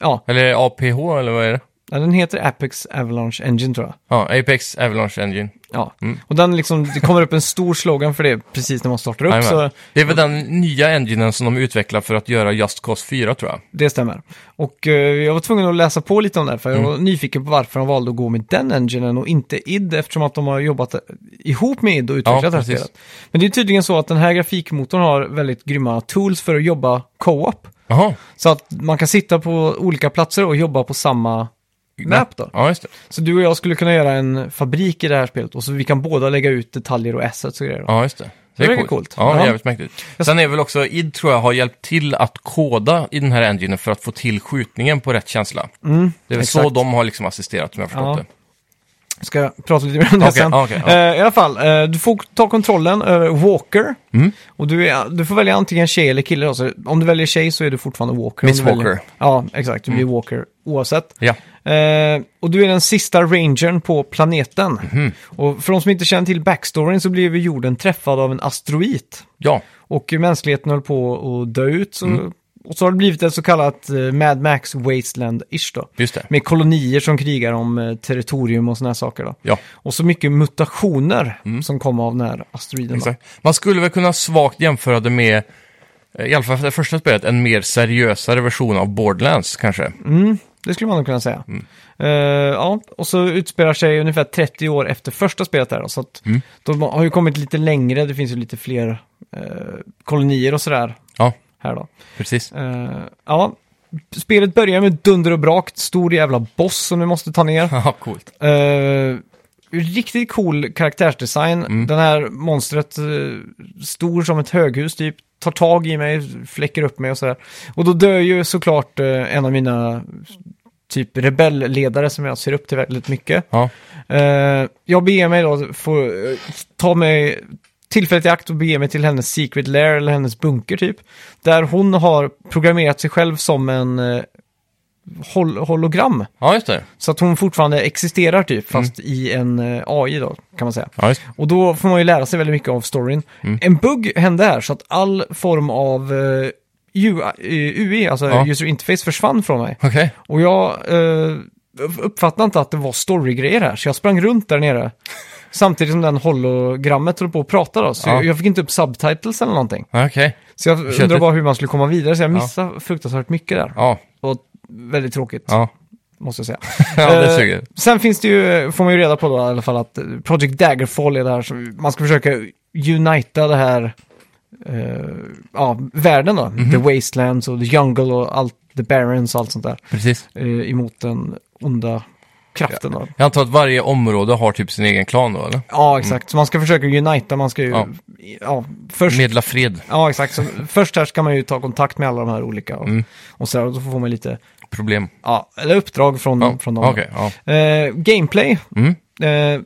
B: Ja. Eller APH eller vad är det?
A: ja, den heter Apex Avalanche Engine tror jag.
B: Ja, Apex Avalanche Engine.
A: Ja, och den liksom, det kommer upp en stor slogan för det precis när man startar upp,
B: Jajamän.
A: så
B: Det är väl den nya enginen som de utvecklar för att göra Just Cause 4 tror jag.
A: det stämmer. Och eh, jag var tvungen att läsa på lite om det, här, för jag
B: Mm.
A: var nyfiken på varför de valde att gå med den enginen och inte id, eftersom att de har jobbat ihop med id och utvecklat
B: Ja,
A: det här
B: precis.
A: spelet. Men det är tydligen så att den här grafikmotorn har väldigt grymma tools för att jobba co-op.
B: Jaha.
A: Så att man kan sitta på olika platser och jobba på samma map då.
B: Ja, just det.
A: Så du och jag skulle kunna göra en fabrik i det här spelet och så vi kan båda lägga ut detaljer och assets och grejer. Då.
B: Ja, just det.
A: Det verkar coolt.
B: Ja,
A: Ja.
B: jävligt mäktigt. Sen är väl också, id tror jag har hjälpt till att koda i den här enginen för att få till skjutningen på rätt känsla. det är väl så
A: Mm. exakt.
B: de har liksom assisterat om jag har
A: Ja.
B: förstått det.
A: Ska jag prata lite mer om det
B: Okej,
A: sen.
B: ja, okej, ja.
A: Eh, I alla fall, eh, du får ta kontrollen över Walker.
B: Mm.
A: Och du, är, du får välja antingen tjej eller kille. Då. Så om du väljer tjej så är du fortfarande Walker.
B: Miss
A: Om du väljer-
B: Walker. Mm.
A: Ja, exakt. Du blir Walker oavsett.
B: Ja.
A: Eh, och du är den sista rangern på planeten.
B: Mhm.
A: Och för de som inte känner till backstoryn så blev ju jorden träffad av en asteroid.
B: Ja,
A: Och mänskligheten höll på att dö ut. Så,
B: Mm.
A: Och så har det blivit ett så kallat eh, Mad Max Wasteland-ish då.
B: just det.
A: Med kolonier som krigar om eh, territorium och sådana här saker då.
B: Ja,
A: Och så mycket mutationer som kom av den här asteroiden. då.
B: Mm. exakt. Man skulle väl kunna svagt jämföra det med, eh, i alla fall för det första spelet, en mer seriösare version av Borderlands kanske.
A: det skulle man nog kunna säga. Eh, ja, och så utspelar sig ungefär 30 år efter första spelet där då, så att
B: Mm.
A: de har ju kommit lite längre, det finns ju lite fler eh, kolonier och sådär
B: Ja,
A: här då.
B: precis.
A: Eh, ja, spelet börjar med dunder och brak, ett stor jävla boss som du måste ta ner.
B: <laughs> Ja, coolt.
A: Eh, riktigt cool karaktärsdesign. Den här monstret, eh, stor som ett höghus typ, tar tag i mig, fläcker upp mig och sådär. Och då dör ju såklart eh, en av mina typ rebellledare som jag ser upp till väldigt mycket.
B: Ja,
A: Eh, jag beger mig då, får eh, ta mig tillfället i akt och bege mig till hennes secret lair eller hennes bunker typ. Där hon har programmerat sig själv som en eh, hol- hologram.
B: ja just det.
A: Så att hon fortfarande existerar typ,
B: Mm.
A: fast i en eh, AI då, kan man säga.
B: Ja, just det.
A: Och då får man ju lära sig väldigt mycket av storyn.
B: Mm.
A: En bugg hände här, så att all form av eh, UI, eh, UI, alltså
B: Ja.
A: user interface, försvann från mig.
B: Okej.
A: Och jag eh, uppfattade inte att det var storygrejer här, så jag sprang runt där
B: <laughs>
A: nere. Samtidigt som den hologrammet höll på att prata då, så
B: Ja.
A: jag, jag fick inte upp subtitles eller någonting.
B: Okej.
A: Så jag
B: Köttigt.
A: undrar bara hur man skulle komma vidare, så jag
B: Ja.
A: missade fruktansvärt mycket där.
B: Ja,
A: Och väldigt tråkigt,
B: ja. <laughs>
A: måste jag säga.
B: ja, det
A: Eh,
B: suger.
A: Sen finns det ju, får man ju reda på då i alla fall att eh, Project Daggerfall är det här som man ska försöka unita det här, eh, ja, världen då.
B: Mhm.
A: The Wastelands och The Jungle och allt, The Barrens och allt sånt där.
B: Precis.
A: Eh, emot den onda kraften då.
B: Jag antar att varje område har typ sin egen klan då, eller?
A: Ja, exakt. Så man ska försöka unita, man ska ju, ja,
B: Mm. Ja.
A: först...
B: Medla fred.
A: Ja, exakt. Så först här ska man ju ta kontakt med alla de här olika och,
B: Mm.
A: och så, här, och då får man lite,
B: Problem.
A: ja, eller uppdrag från,
B: Ja,
A: från dem.
B: okej. ja.
A: Eh, gameplay,
B: Mm.
A: eh,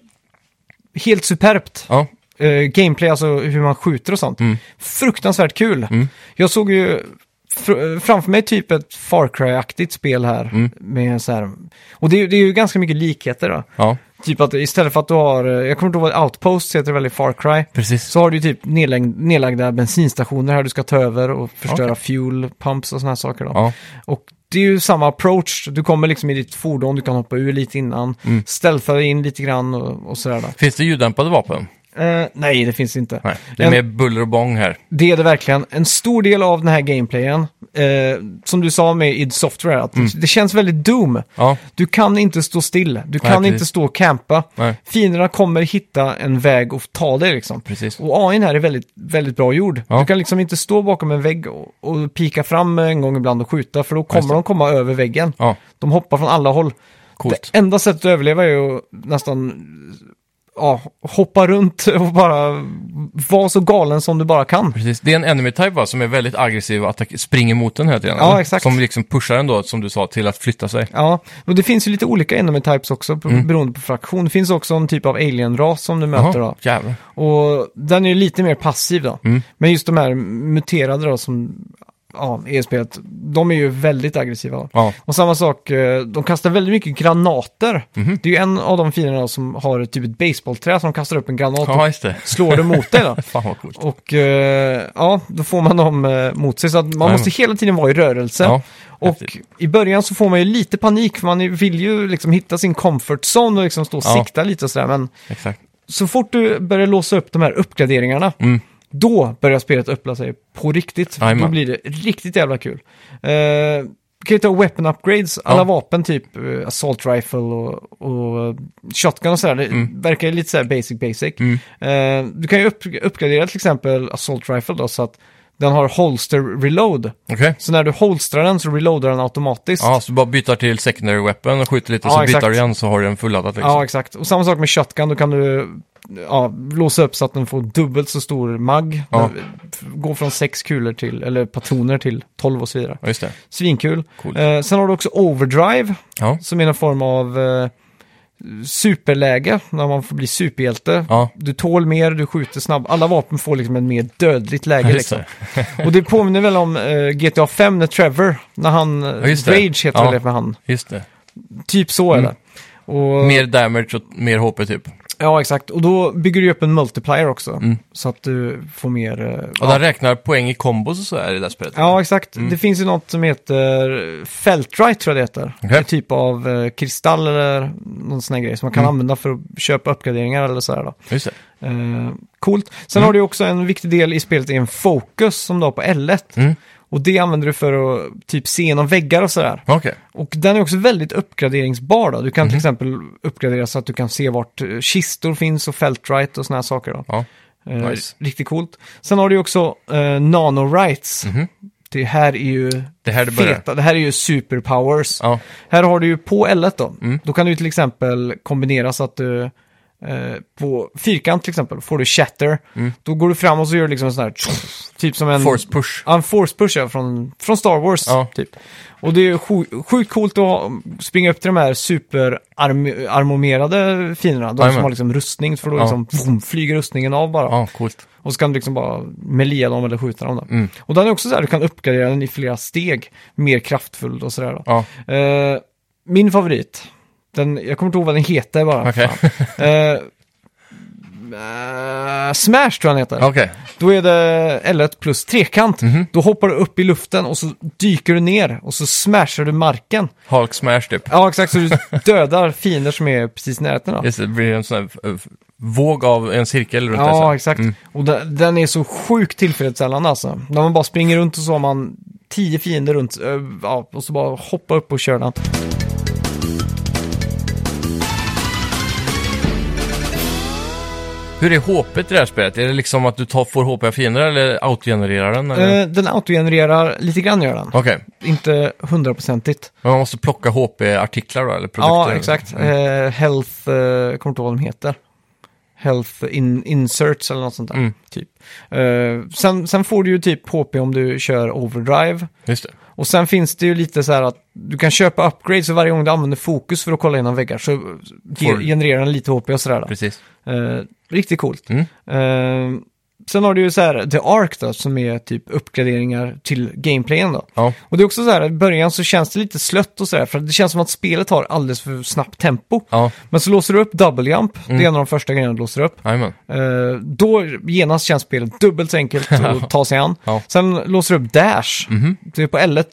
A: helt superbt.
B: ja.
A: eh, gameplay, alltså hur man skjuter och sånt.
B: Mm.
A: Fruktansvärt kul.
B: Mm.
A: Jag såg ju fr- framför mig typ ett Far Cry-aktigt spel här.
B: Mm.
A: Med så här och det, är ju- det är ju ganska mycket likheter då.
B: Ja,
A: Typ att istället för att du har, eh, jag kommer inte ihåg vad Outpost heter väl i Far Cry.
B: precis.
A: Så har du ju typ nedlägg, nedlagda bensinstationer här du ska ta över och förstöra fuel pumps och sådana här saker då.
B: Ja,
A: Och det är ju samma approach, du kommer liksom i ditt fordon, du kan hoppa ur lite innan,
B: Mm.
A: stealtha dig in lite grann och, och sådär då.
B: Finns det ljuddämpade vapen?
A: Eh, nej, det finns inte.
B: Nej, det är
A: En-
B: mer buller och bång här.
A: Det är det verkligen. En stor del av den här gameplayen, eh, som du sa med id Software,
B: Mm.
A: att det känns väldigt Doom.
B: Ja,
A: Du kan inte stå still, du kan
B: precis.
A: inte stå och campa.
B: nej,
A: Fienderna kommer hitta en väg och ta dig liksom.
B: precis.
A: Och AIn här är väldigt, väldigt bra gjord.
B: Ja.
A: Du kan liksom inte stå bakom en vägg och, och pika fram en gång ibland och skjuta, för då
B: Just
A: kommer
B: det.
A: de komma över väggen.
B: Ja,
A: De hoppar från alla håll.
B: coolt.
A: Det enda sättet att överleva är ju att nästan ja, hoppa runt och bara vara så galen som du bara kan.
B: Precis. Det är en enemy type va, som är väldigt aggressiv och attack- springer mot den hela tiden.
A: Ja,
B: eller?
A: exakt.
B: Som liksom pushar den då, som du sa, till att flytta sig.
A: Ja, och det finns ju lite olika enemy types också b- beroende på fraktion. Det finns också en typ av alien-ras som du möter
B: Mm. Jaha,
A: då.
B: jävlar.
A: Och den är ju lite mer passiv då.
B: Mm.
A: Men just de här muterade då som ja, E är i spelet, de är ju väldigt aggressiva. Då.
B: Ja,
A: Och samma sak, eh, de kastar väldigt mycket granater.
B: Mhm.
A: Det är ju en av de fienderna då som har ett- typ ett baseballträ som kastar upp en granat och
B: ja just det.
A: slår det mot
B: <laughs>
A: dig då.
B: Fan vad coolt.
A: Och eh, ja, då får man dem eh, mot sig. Så att man
B: Ja.
A: måste hela tiden vara i rörelse.
B: Ja,
A: Och
B: Häftigt.
A: i början så får man ju lite panik för man vill ju liksom hitta sin comfort zone och liksom stå och
B: Ja.
A: sikta lite och sådär. Men
B: exakt.
A: så fort du börjar låsa upp de här uppgraderingarna,
B: Mm.
A: då börjar spelet öppna sig på riktigt.
B: Jajamän.
A: Då blir det riktigt jävla kul. Eh, kan ju ta weapon upgrades, alla
B: Ja.
A: vapen typ eh, assault rifle och, och eh, shotgun och sådär. Det
B: Mm.
A: verkar ju lite sådär basic basic. Eh, du kan ju upp, uppgradera till exempel assault rifle då så att den har holster reload.
B: Okej.
A: Så när du holstrar den så reloadar den automatiskt.
B: Ja, så du bara byter till secondary weappen och skjuter lite,
A: Ja,
B: så
A: exakt.
B: byter du igen så har du en fulladdat liksom.
A: Ja, exakt. Och samma sak med shotgun, då kan du ja, låsa upp så att den får dubbelt så stor mag.
B: Ja.
A: Den f- Går från sex kulor till, eller patroner till 12 och så vidare.
B: Ja, just det.
A: Svinkul.
B: Coolt.
A: Eh, sen har du också overdrive,
B: Ja,
A: som är en form av eh, superläge, när man får bli superhjälte.
B: ja.
A: Du tål mer, du skjuter snabbt. Alla vapen får liksom ett mer dödligt
B: ja
A: läge.
B: just
A: Liksom.
B: det.
A: Och det påminner väl om eh, GTA 5 när Trevor, när han... eh,
B: just det.
A: Rage heter
B: Ja.
A: väl det med han.
B: Just det.
A: Typ så är det. Och...
B: Mm. Mer damage och mer HP typ.
A: Ja, exakt. Och då bygger du upp en multiplier också.
B: Mm.
A: Så att du får mer... eh,
B: Och Mm.
A: ja.
B: den räknar poäng i kombos och så här i det här spelet.
A: ja, exakt. Det finns ju något som heter Feltrite, tror jag det heter.
B: Okej.
A: En typ av eh, kristall eller någon sån här grej som man kan
B: Mm.
A: använda för att köpa uppgraderingar eller så här då.
B: Just det.
A: Eh, coolt. Sen
B: Mm.
A: har du ju också en viktig del i spelet, är en focus som du har på L1.
B: Mm.
A: Och det använder du för att typ se genom väggar och sådär.
B: Okej.
A: Och den är också väldigt uppgraderingsbar då. Du
B: Mhm.
A: kan till exempel uppgradera så att du kan se vart eh, kistor finns och feltrite och sådana här saker då.
B: Ja.
A: Eh,
B: Nice.
A: Riktigt coolt. Sen har du ju också eh, nanorights. Det här är ju
B: Mhm. Det här det börjar.
A: feta, det här är ju superpowers.
B: Ja. Mm.
A: Här har du ju på L1 då. Då kan du ju till exempel kombinera så att du eh, på fyrkant till exempel får du chatter. Då går du fram och så gör du liksom en sån här typ som en
B: Mm. Force push.
A: Ja, en force push ja, från, från Star Wars.
B: Ja.
A: Typ. Och det är ju sju- sjukt coolt att ha- springa upp till de här superarmomerade fienderna. De
B: Jajamän.
A: som har liksom rustning, för då
B: Ja.
A: liksom, vroom, flyger rustningen av bara.
B: Ja, coolt.
A: Och så kan du liksom bara melia dem eller skjuta dem. Då.
B: Mm.
A: Och den är också så här, du kan uppgradera den i flera steg, mer kraftfull och sådär. Då.
B: Ja,
A: Eh, min favorit, den, jag kommer inte ihåg vad den heter bara.
B: okej.
A: Eh, eh, Smash tror jag den heter.
B: <laughs> Okej.
A: Då är det L1 plus trekant. Då hoppar du upp i luften och så dyker du ner och så smashar du marken.
B: Hulk smash typ.
A: Ja, exakt. Så du dödar fiender som är precis i närheten. Då.
B: Just det, det blir en sån här eh, våg av en cirkel runt den så här. Mm.
A: Ja, exakt. Och den, den är så sjukt tillfredsställande alltså. När man bara springer runt och så har man tio fiender runt eh, ja, och så bara hoppa upp och kör den.
B: Hur är HP i det här spelet? Är det liksom att du tar, får HP av fiender eller autogenererar den? Eller?
A: Eh, den autogenererar lite grann gör den.
B: Okej,
A: Inte hundraprocentigt.
B: men man måste plocka HP-artiklar då, eller produkter? Mm.
A: Ja, exakt. Eh, health, eh, jag kommer inte ihåg vad de heter. Health in, inserts eller något sånt där.
B: Mm.
A: Typ. Eh, sen, sen får du ju typ HP om du kör overdrive.
B: Just det.
A: Och sen finns det ju lite så här att du kan köpa upgrades och varje gång du använder fokus för att kolla igenom väggar så ge,
B: Får du-
A: genererar den lite HP och sådär. då.
B: Precis.
A: Eh, riktigt coolt.
B: Mm.
A: Eh, sen har du ju så här The Ark då, som är typ uppgraderingar till gameplayen då.
B: Ja,
A: Och det är också så här, i början så känns det lite slött och sådär, för det känns som att spelet har alldeles för snabbt tempo.
B: ja,
A: Men så låser du upp double jump,
B: Mm.
A: det är en av de första grejerna du låser upp.
B: jajamän.
A: Eh, då genast känns spelet dubbelt så
B: <laughs>
A: enkelt att ta sig an.
B: Ja. Mhm.
A: Sen låser du upp dash, det är på L1,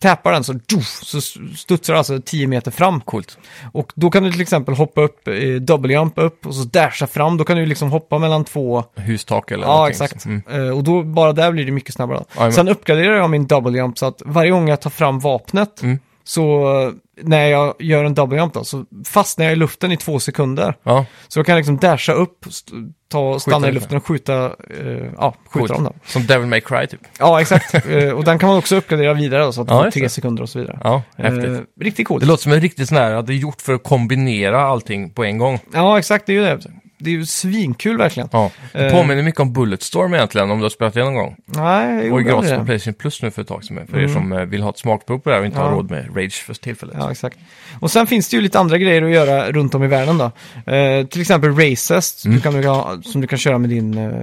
A: tappar den så, doof, så studsar du alltså 10 meter fram.
B: Coolt.
A: Och då kan du till exempel hoppa upp, eh, double jump upp och så dasha fram. Då kan du liksom hoppa mellan två
B: Hustak eller
A: Ja,
B: någonting.
A: exakt.
B: Mm.
A: Eh, Och då, bara där blir det mycket snabbare.
B: Jajamän.
A: Sen uppgraderar jag min double jump så att varje gång jag tar fram vapnet,
B: Mm.
A: så eh, när jag gör en double jump då, så fastnar jag i luften i två sekunder.
B: Ja,
A: Så jag kan liksom dasha upp, st- ta, stanna i
B: lite.
A: luften och skjuta, eh, ja, skjuta dem då.
B: Som Devil May Cry typ.
A: Ja,
B: <laughs>
A: exakt. Eh, och den kan man också uppgradera vidare då, så att
B: Ja,
A: man får
B: just
A: tre
B: det.
A: sekunder och så vidare.
B: Ja, häftigt.
A: Eh, riktigt coolt.
B: Det låter som en riktigt sån här, att det är gjort för att kombinera allting på en gång.
A: Ja, exakt. Det är ju det. Det är ju svinkul verkligen.
B: Ja. Det
A: Eh.
B: påminner mycket om Bulletstorm egentligen, om du har spelat det någon gång.
A: Nej, jag
B: Det var ju
A: gjorde
B: gratis
A: aldrig
B: på
A: det. Mm.
B: Playstation Plus nu för ett tag sedan, för er som eh, vill ha ett smakprov på det här och inte har
A: Ja.
B: råd med Rage för tillfället.
A: Ja, exakt. Och sen finns det ju lite andra grejer att göra runt om i världen då. Eh, till exempel races,
B: Mm.
A: du kan, ha- som du kan köra med din, eh,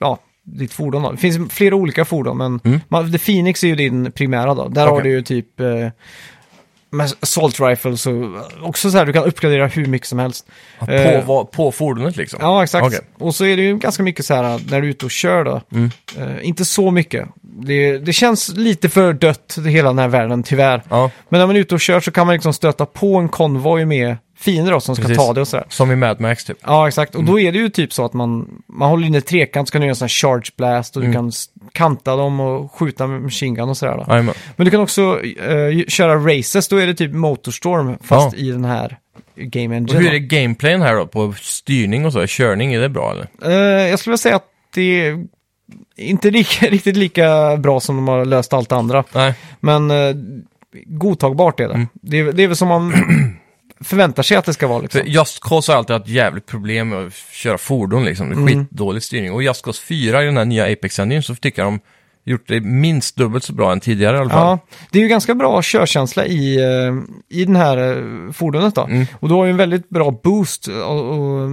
A: ja, ditt fordon då. Det finns flera olika fordon, men
B: Mm.
A: man, The Phoenix är ju din primära då. Där har
B: Okej.
A: du ju typ eh, med assault rifles och eh, också så här, du kan uppgradera hur mycket som helst.
B: Ja, På,
A: Eh.
B: va- på fordonet liksom.
A: Ja, exakt.
B: Okej.
A: Och så är det ju ganska mycket så här eh, när du är ute och kör då.
B: Mm.
A: Eh, inte så mycket. Det, det känns lite för dött, det hela den här världen, tyvärr.
B: Ja,
A: Men när man är ute och kör så kan man liksom stöta på en konvoj med fiender då, som ska
B: Precis.
A: ta det och sådär.
B: som i Mad Max typ.
A: Ja, exakt. Och då är det ju typ så att man, man håller inne trekant så kan du göra en sån här charge blast och du
B: Mm.
A: kan s- kanta dem och skjuta med machine gun och sådär. Då.
B: Jajamän.
A: Men du kan också eh, köra races, då är det typ Motorstorm fast i den här Game
B: Och
A: Engine.
B: hur
A: då.
B: är gameplayen här då, på styrning och så? Körning, är det bra eller?
A: Eh, jag skulle vilja säga att det är inte lika, <laughs> riktigt lika bra som de har löst allt det andra.
B: Nej,
A: Men eh, godtagbart
B: Mm.
A: är det. det. är- Det är väl som man <clears throat> förväntar sig att det ska vara liksom.
B: för Just Cause har alltid haft jävligt problem med att köra fordon liksom. Det
A: Mm.
B: är skitdålig styrning. Och Just Cause 4 i den här nya apex engine så tycker jag de gjort det minst dubbelt så bra än tidigare i alla fall.
A: Ja, det är ju ganska bra körkänsla i, eh, i den här eh, fordonet då.
B: Mm.
A: Och du har ju en väldigt bra boost eh, och, och,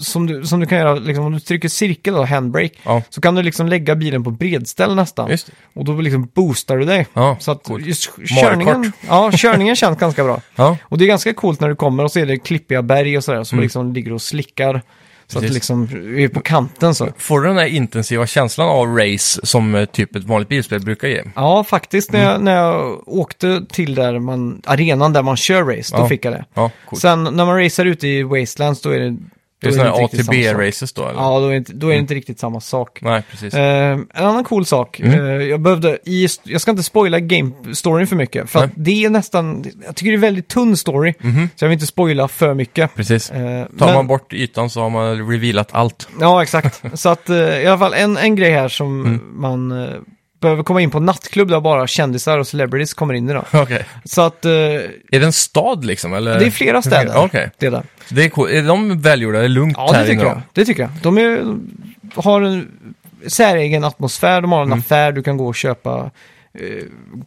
A: som, du, som du kan göra, liksom, om du trycker cirkel då, handbrake,
B: Ja.
A: så kan du liksom lägga bilen på bredställ nästan.
B: Just det.
A: Och då liksom boostar du dig.
B: Ja,
A: så att
B: coolt.
A: just k-
B: Mario
A: körningen,
B: Kart.
A: ja, körningen känns ganska bra.
B: Ja,
A: Och det är ganska coolt när du kommer och så är det klippiga berg och sådär som liksom ligger och slickar. Så att
B: Mm. Precis.
A: det liksom är på kanten så.
B: Får du den här intensiva känslan av race som eh, typ ett vanligt bilspel brukar ge?
A: Ja, faktiskt när,
B: Mm.
A: jag, när jag åkte till där man, arenan där man kör race, då
B: Ja.
A: fick jag det.
B: Ja, coolt.
A: Sen när man racear ute i Wastelands, då är det
B: Det är
A: Då är
B: sådana här
A: inte riktigt samma sak.
B: ATB-races då eller?
A: Ja, då är det inte, då är det inte riktigt samma sak.
B: Nej, Mm. precis. Mm.
A: Eh, en annan cool sak, eh, jag behövde, i, jag ska inte spoila game-storyn för mycket, för att det är nästan, jag tycker det är en väldigt tunn story, så jag vill inte spoila för mycket.
B: Mm-hmm. precis.
A: Eh,
B: Tar
A: men-
B: man bort ytan så har man revealat allt. <laughs>
A: Ja, exakt. Så att eh, i alla fall en, en grej här som
B: Mm.
A: man eh, behöver komma in på en nattklubb där bara kändisar och celebrities kommer in i då.
B: Okej.
A: Så att eh,
B: Är det en stad liksom? Eller?
A: det är flera städer.
B: Okej.
A: Det där.
B: Så Det är, cool. är de välgjorda? Är det lugnt
A: Ja,
B: här
A: det tycker
B: inne då?
A: jag. Det tycker jag. De är, har en säregen atmosfär, de har
B: Mm.
A: en affär, du kan gå och köpa eh,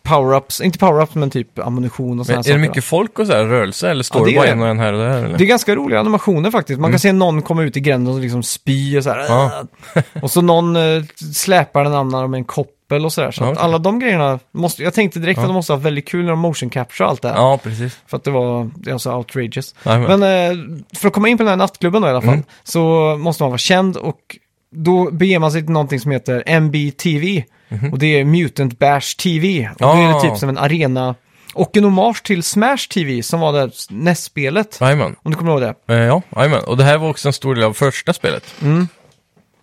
A: power-ups, inte power-ups men typ ammunition och
B: Men
A: sådana
B: är
A: saker.
B: det
A: då.
B: mycket folk och så här rörelse? Eller står
A: Ja,
B: det,
A: det
B: bara
A: är
B: en
A: det.
B: och en här och där? Eller?
A: Det är ganska roliga animationer faktiskt. Man kan se någon komma ut i gränden och liksom spy och så här.
B: Mm. Ja.
A: <laughs> och så någon eh, släpar den andra med en koppel och så där. Så
B: Ja,
A: att
B: okej.
A: alla de grejerna, måste, jag tänkte direkt
B: Ja.
A: att de måste ha väldigt kul när de motion capture och allt det här.
B: Ja, precis.
A: För att det var, det var så outrageous.
B: Nej, men...
A: Men eh, för att komma in på den här nattklubben då i alla fall,
B: Mm.
A: så måste man vara känd och då beger man sig till någonting som heter MBTV. Och det är Mutant Bash TV. Och då är
B: Mhm. Ah.
A: det typ som en arena och en hommage till Smash TV som var det här NES-spelet.
B: Jajamän.
A: Om du kommer ihåg det?
B: Eh, Ja, jajamän. Och det här var också en stor del av första spelet.
A: Mm.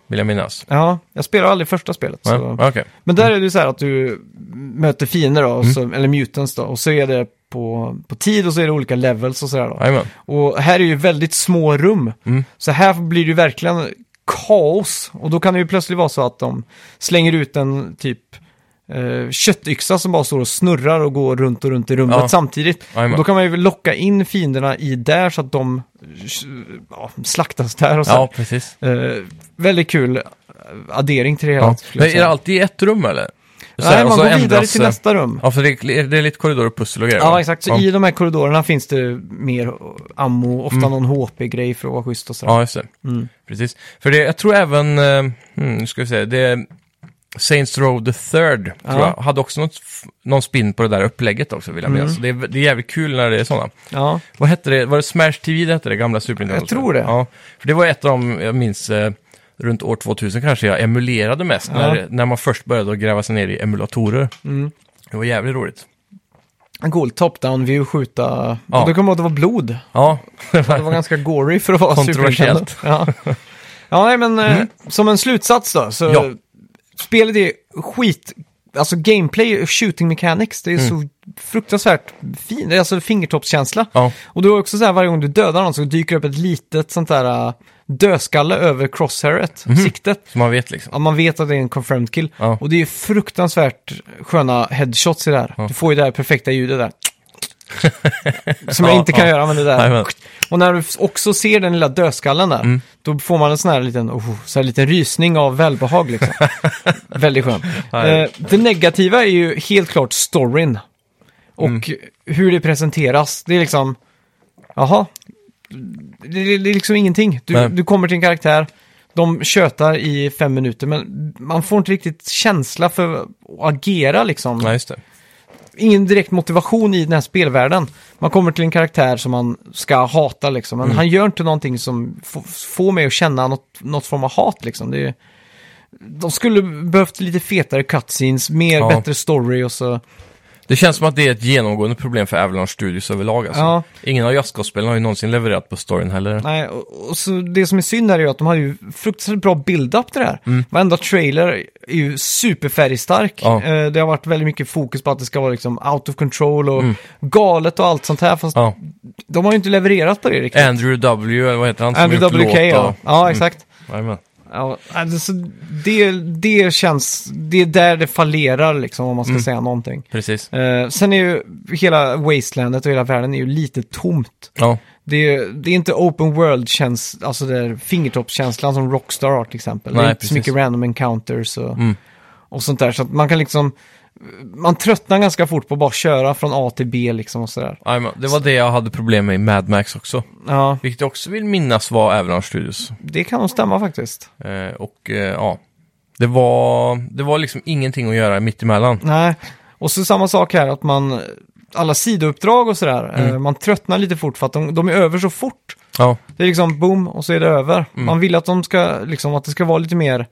B: Vill jag minnas.
A: Ja, jag spelar aldrig första spelet.
B: Nej,
A: Så.
B: Okej.
A: Men där är det ju så här att du möter fiender då, och
B: Mm.
A: så, eller mutants då, och så är det på, på tid och så är det olika levels och sådär då.
B: Jajamän.
A: Och här är ju väldigt små rum,
B: Mm.
A: så här blir det ju verkligen kaos. Och då kan det ju plötsligt vara så att de slänger ut en typ eh, köttyxa som bara står och snurrar och går runt och runt i rummet
B: Ja.
A: samtidigt.
B: Jajamän.
A: Och då kan man ju locka in fienderna i där så att de eh, ja, slaktas där och så.
B: Ja, precis.
A: Eh, väldigt kul addering till det hela.
B: Ja.
A: skulle jag
B: Men är
A: säga.
B: det alltid i ett rum eller? Så här,
A: Nej,
B: och
A: man
B: så
A: går vidare
B: ändras,
A: till
B: eh,
A: nästa rum.
B: Ja, för det är, det är lite korridorer och pussel och grejer.
A: Ja,
B: va?
A: exakt. Så
B: Ja,
A: i de här korridorerna finns det mer ammo, ofta någon HP-grej för att vara schysst och sådär.
B: Mm. ja just det.
A: Mm.
B: Precis. För det, jag tror även, eh, hmm, nu ska vi se, det är Saints Row the Third, tror
A: Ja.
B: jag, hade också något, f- någon spin på det där upplägget också, vill jag minnas.
A: Mm.
B: Så det, är- det är jävligt kul när det är sådana.
A: Ja.
B: Vad hette det? Var det Smash TV det hette, det gamla Super Nintendo?
A: Jag tror det.
B: Ja, för det var ett av de, jag minns, eh, runt år 2000 kanske jag emulerade mest, när, när man först började att gräva sig ner i emulatorer. Det var jävligt roligt.
A: Mm. En cool top-down view skjuta.
B: Ja.
A: Och då kommer jag ihåg att det var blod.
B: Ja,
A: Det
B: <laughs>
A: var ganska gory för att vara Super Nintendo.
B: Kontroversiellt. Mm.
A: Ja. ja, nej men eh, som en slutsats då. Så
B: Ja.
A: Spelet är skit. Alltså gameplay och shooting mechanics, det är så fruktansvärt fint. Alltså fingertoppskänsla.
B: Mm. ja.
A: Och då är det också så här varje gång du dödar någon så dyker det upp ett litet sånt där uh, dödskalle över crosshairet,
B: Mhm.
A: siktet.
B: så man vet liksom.
A: Ja, man vet att det är en confirmed kill.
B: Ja.
A: Och det är ju fruktansvärt sköna headshots i det här. Du får ju det här perfekta ljudet där. Som jag
B: Ja,
A: inte kan
B: ja.
A: göra med det där.
B: Nej, men-
A: Och när du också ser den lilla dödskallen där,
B: Mm.
A: då får man en sån här liten, oh, så här liten rysning av välbehag
B: <laughs>
A: liksom. Väldigt skön.
B: Nej.
A: Eh, det negativa är ju helt klart storyn. Och
B: Mm.
A: hur det presenteras. Det är liksom, jaha, det, det, det är liksom ingenting. Du,
B: Nej.
A: du kommer till en karaktär, de tjötar i fem minuter, men man får inte riktigt känsla för att agera liksom.
B: Nej, just det.
A: Ingen direkt motivation i den här spelvärlden. Man kommer till en karaktär som man ska hata liksom, men
B: Mm.
A: han gör inte någonting som f- får mig att känna något, något form av hat liksom. Det är, de skulle behövt lite fetare cutscenes, mer,
B: Ja.
A: bättre story och så.
B: Det känns som att det är ett genomgående problem för Avalanche Studios överlag. Alltså.
A: Ja.
B: Ingen av jazzgospelen har ju någonsin levererat på storyn heller.
A: Nej, och, och så det som är synd här är ju att de har ju fruktansvärt bra build-up till det här. Varenda trailer är ju superfärgstark.
B: Mm. Ja.
A: Eh, det har varit väldigt mycket fokus på att det ska vara liksom out of control och galet och allt sånt här. Fast
B: Mm. Ja.
A: de har ju inte levererat på det riktigt.
B: Andrew W, eller vad heter han? som
A: Andrew
B: gjort Mm.
A: WK,
B: låt
A: ja.
B: och-
A: ja exakt.
B: Jajamän.
A: Ja, alltså, det, det känns, det är där det fallerar liksom om man ska säga någonting.
B: Precis.
A: Eh, sen är ju hela wastelandet och hela världen är ju lite tomt.
B: Ja.
A: Det är, det är inte open world känns, alltså där fingertoppskänslan som Rockstar har till exempel. det
B: Nej,
A: är inte
B: precis.
A: så mycket random encounters och, och sånt där. Så att man kan liksom, man tröttnar ganska fort på att bara köra från A till B liksom och sådär.
B: Jajamän. Det var det jag hade problem med i Mad Max också.
A: Ja,
B: Vilket jag också vill minnas var Avalanche Studios.
A: det kan nog stämma faktiskt.
B: Eh, och eh, ja, det var, det var liksom ingenting att göra mittemellan.
A: Nej, och så samma sak här att man, alla sidouppdrag och sådär,
B: Mm.
A: eh, man tröttnar lite fort för att de, de är över så fort.
B: Ja,
A: Det är liksom boom och så är det över.
B: Mm.
A: Man vill att de ska, liksom att det ska vara lite mer,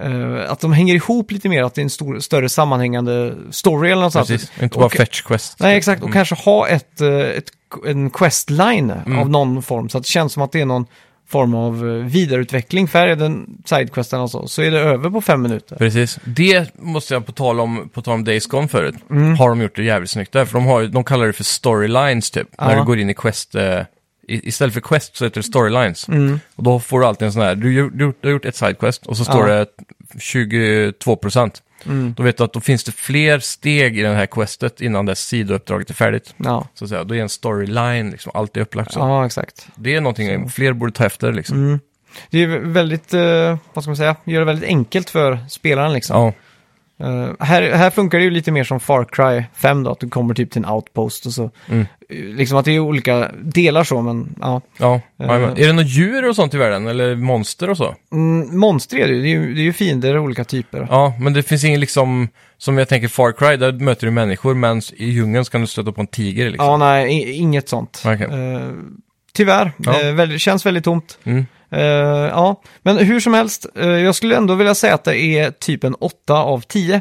A: eh, att de hänger ihop lite mer, att det är en stor, större sammanhängande story eller något sånt.
B: precis. Inte bara Mm.
A: Och-
B: Fetch Quest.
A: Nej, exakt. Och
B: Mm.
A: kanske ha ett, eh, ett, en questline av någon form, så att det känns som att det är någon form av eh, vidareutveckling, för här är den sidequesten alltså, så är det över på fem minuter.
B: Precis. Det måste jag på tal om, på tal om Days Gone förut,
A: Mm.
B: har de gjort det jävligt snyggt där. För de, har, ju- de kallar det för storylines typ, när
A: Ja.
B: du går in i quest. Eh, i- istället för quest så heter det storylines.
A: Mm.
B: Och då får du alltid en sån här, du, gör- du, har gjort- du har gjort ett sidequest och så står
A: Ja.
B: det 22 procent.
A: Mm.
B: Då vet du att då finns det fler steg i det här questet innan det sidouppdraget är färdigt.
A: Ja,
B: Så att säga, då är en storyline liksom, alltid upplagt så.
A: ja Mm. exakt.
B: Det är någonting fler borde ta efter liksom.
A: Det är väldigt, eh, vad ska man säga, gör det väldigt enkelt för spelaren liksom.
B: Ja,
A: Eh, här, här funkar det ju lite mer som Far Cry 5 då, att du kommer typ till en outpost och så.
B: Mm.
A: Eh, Liksom att det är olika delar så, men ja.
B: ja. jajamän.
A: Eh.
B: Är det några djur och sånt i världen? Eller monster och så?
A: Mm, monster är det ju, det är ju, det är ju fiender av olika typer.
B: Ja, men det finns ingen liksom, som jag tänker Far Cry, där möter du människor, men i djungeln så kan du stöta på en tiger liksom.
A: Ja, nej, i- inget sånt.
B: Okej.
A: Eh, tyvärr,
B: Ja.
A: Eh, väldigt, känns väldigt tomt.
B: Mm.
A: Eh, ja, men hur som helst, eh, jag skulle ändå vilja säga att det är typ en 8 av 10.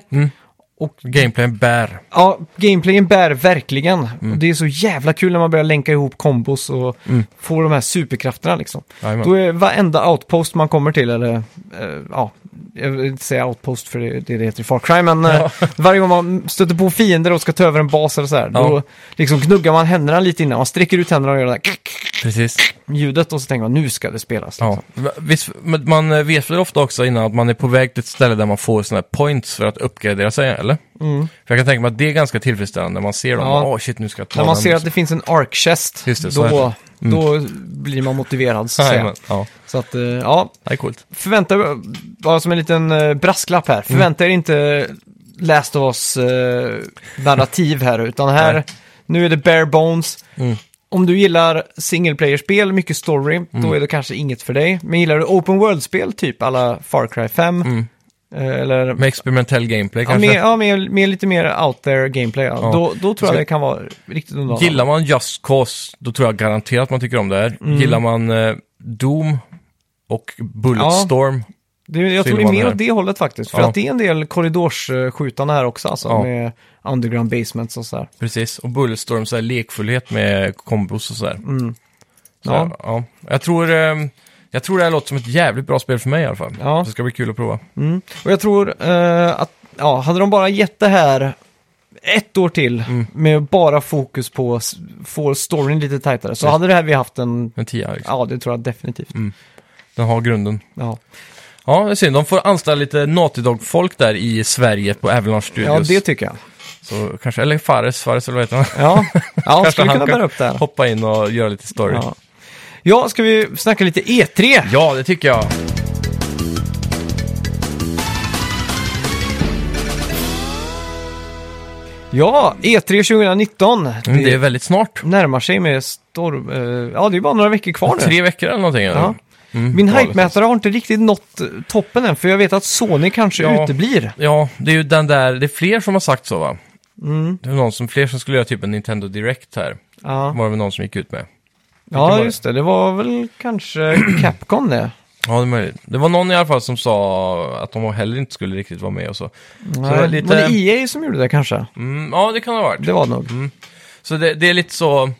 B: Gameplayen bär.
A: Ja, gameplayen bär verkligen. Och
B: Mm.
A: det är så jävla kul när man börjar länka ihop kombos och får de här superkrafterna liksom.
B: Jajamän.
A: Då är varenda outpost man kommer till, eller eh, ja, jag vill inte säga outpost för det, det heter i Far Cry, men eh,
B: <laughs>
A: varje gång man stöter på fiender och ska ta över en bas eller så här, då
B: Ja.
A: liksom knuggar man händerna lite innan, man sträcker ut händerna och gör det här
B: Precis.
A: ljudet och så tänker man nu ska det spelas.
B: Ja.
A: Liksom.
B: Visst, men man eh, vet väl ofta också innan att man är på väg till ett ställe där man får sådana här points för att uppgradera sig, eller? För jag kan tänka mig att det är ganska tillfredsställande när man ser dem.
A: Mm. Ja.
B: Åh shit, nu ska jag ta
A: När man
B: den. liksom."
A: ser att det finns en arc chest,
B: Just det, så är
A: då,
B: det. Mm.
A: då blir man motiverad så att säga.
B: Jajamän. Ja,
A: Så att, eh, ja,
B: det är coolt.
A: förvänta bara som en liten eh, brasklapp
B: Mm.
A: här, förvänta er inte Last of Us eh, narrativ här, utan här,
B: Nej.
A: nu är det bare bones.
B: Mm.
A: Om du gillar single player-spel, mycket story,
B: Mm.
A: då är det kanske inget för dig. Men gillar du open world-spel, typ alla Far Cry 5,
B: Mm.
A: eh, eller
B: Med experimentell gameplay
A: ja,
B: kanske.
A: med, ja, med, med lite mer out there gameplay, ja.
B: Ja.
A: Då, då tror jag
B: Ska-
A: det kan vara riktigt underhållande.
B: Gillar man Just Cause, då tror jag garanterat man tycker om det här.
A: Mm.
B: Gillar man eh, Doom och
A: Ja.
B: Bulletstorm,
A: Det, jag
B: Så
A: tror det är
B: gillar man
A: mer
B: det.
A: åt det hållet faktiskt. För
B: Ja.
A: att det är en del korridorsskjutande här också, alltså
B: Ja.
A: med underground basements och så här.
B: Precis, och Bulletstorm så här lekfullhet med kombos och sådär. Så,
A: Mm. Ja.
B: ja. ja. Jag, tror, ehm, jag tror det här låter som ett jävligt bra spel för mig i alla fall.
A: Ja.
B: Så Det ska bli kul att prova.
A: Mm. Och jag tror eh, att, ja, hade de bara gett det här ett år till
B: Mm.
A: med bara fokus på att s- få storyn lite tajtare så
B: Just.
A: hade det här vi haft en,
B: En tia, liksom.
A: ja det tror jag definitivt.
B: Mm. Den har grunden.
A: Ja,
B: Ja, det är synd. De får anställa lite Naughty Dog-folk där i Sverige på Avalanche
A: ja
B: Studios.
A: det tycker jag.
B: så kanske, eller Fares, Fares eller vad heter han?
A: Ja, ja
B: <laughs> Kanske
A: skulle
B: han
A: kunna
B: kan
A: bära upp det här.
B: Hoppa in och göra lite story.
A: Ja. ja, ska vi snacka lite E E3?
B: ja det tycker jag.
A: Ja, E E3 2019.
B: Mm, det är väldigt snart.
A: närmar sig med storm... eh, ja, det är bara några veckor kvar nu.
B: Tre veckor eller någonting. eller?
A: Ja.
B: Mm,
A: Min
B: galet.
A: hype-mätare har inte riktigt nått eh, toppen än, för jag vet att Sony kanske
B: Ja.
A: uteblir.
B: Ja, det är ju den där, det är fler som har sagt så va? Det är någon som, fler som skulle göra typ en Nintendo Direct här.
A: Ja,
B: Var det väl någon som gick ut med. var
A: ja
B: det?
A: just det. Det var väl kanske <clears throat> Capcom det.
B: Ja, det är möjligt. Det var någon i alla fall som sa att de heller inte skulle riktigt vara med och så. så det
A: Nej,
B: var
A: var,
B: lite...
A: det EA som gjorde det kanske?
B: mm, ja, det kan ha varit.
A: Det var det nog.
B: Så det, det är lite så...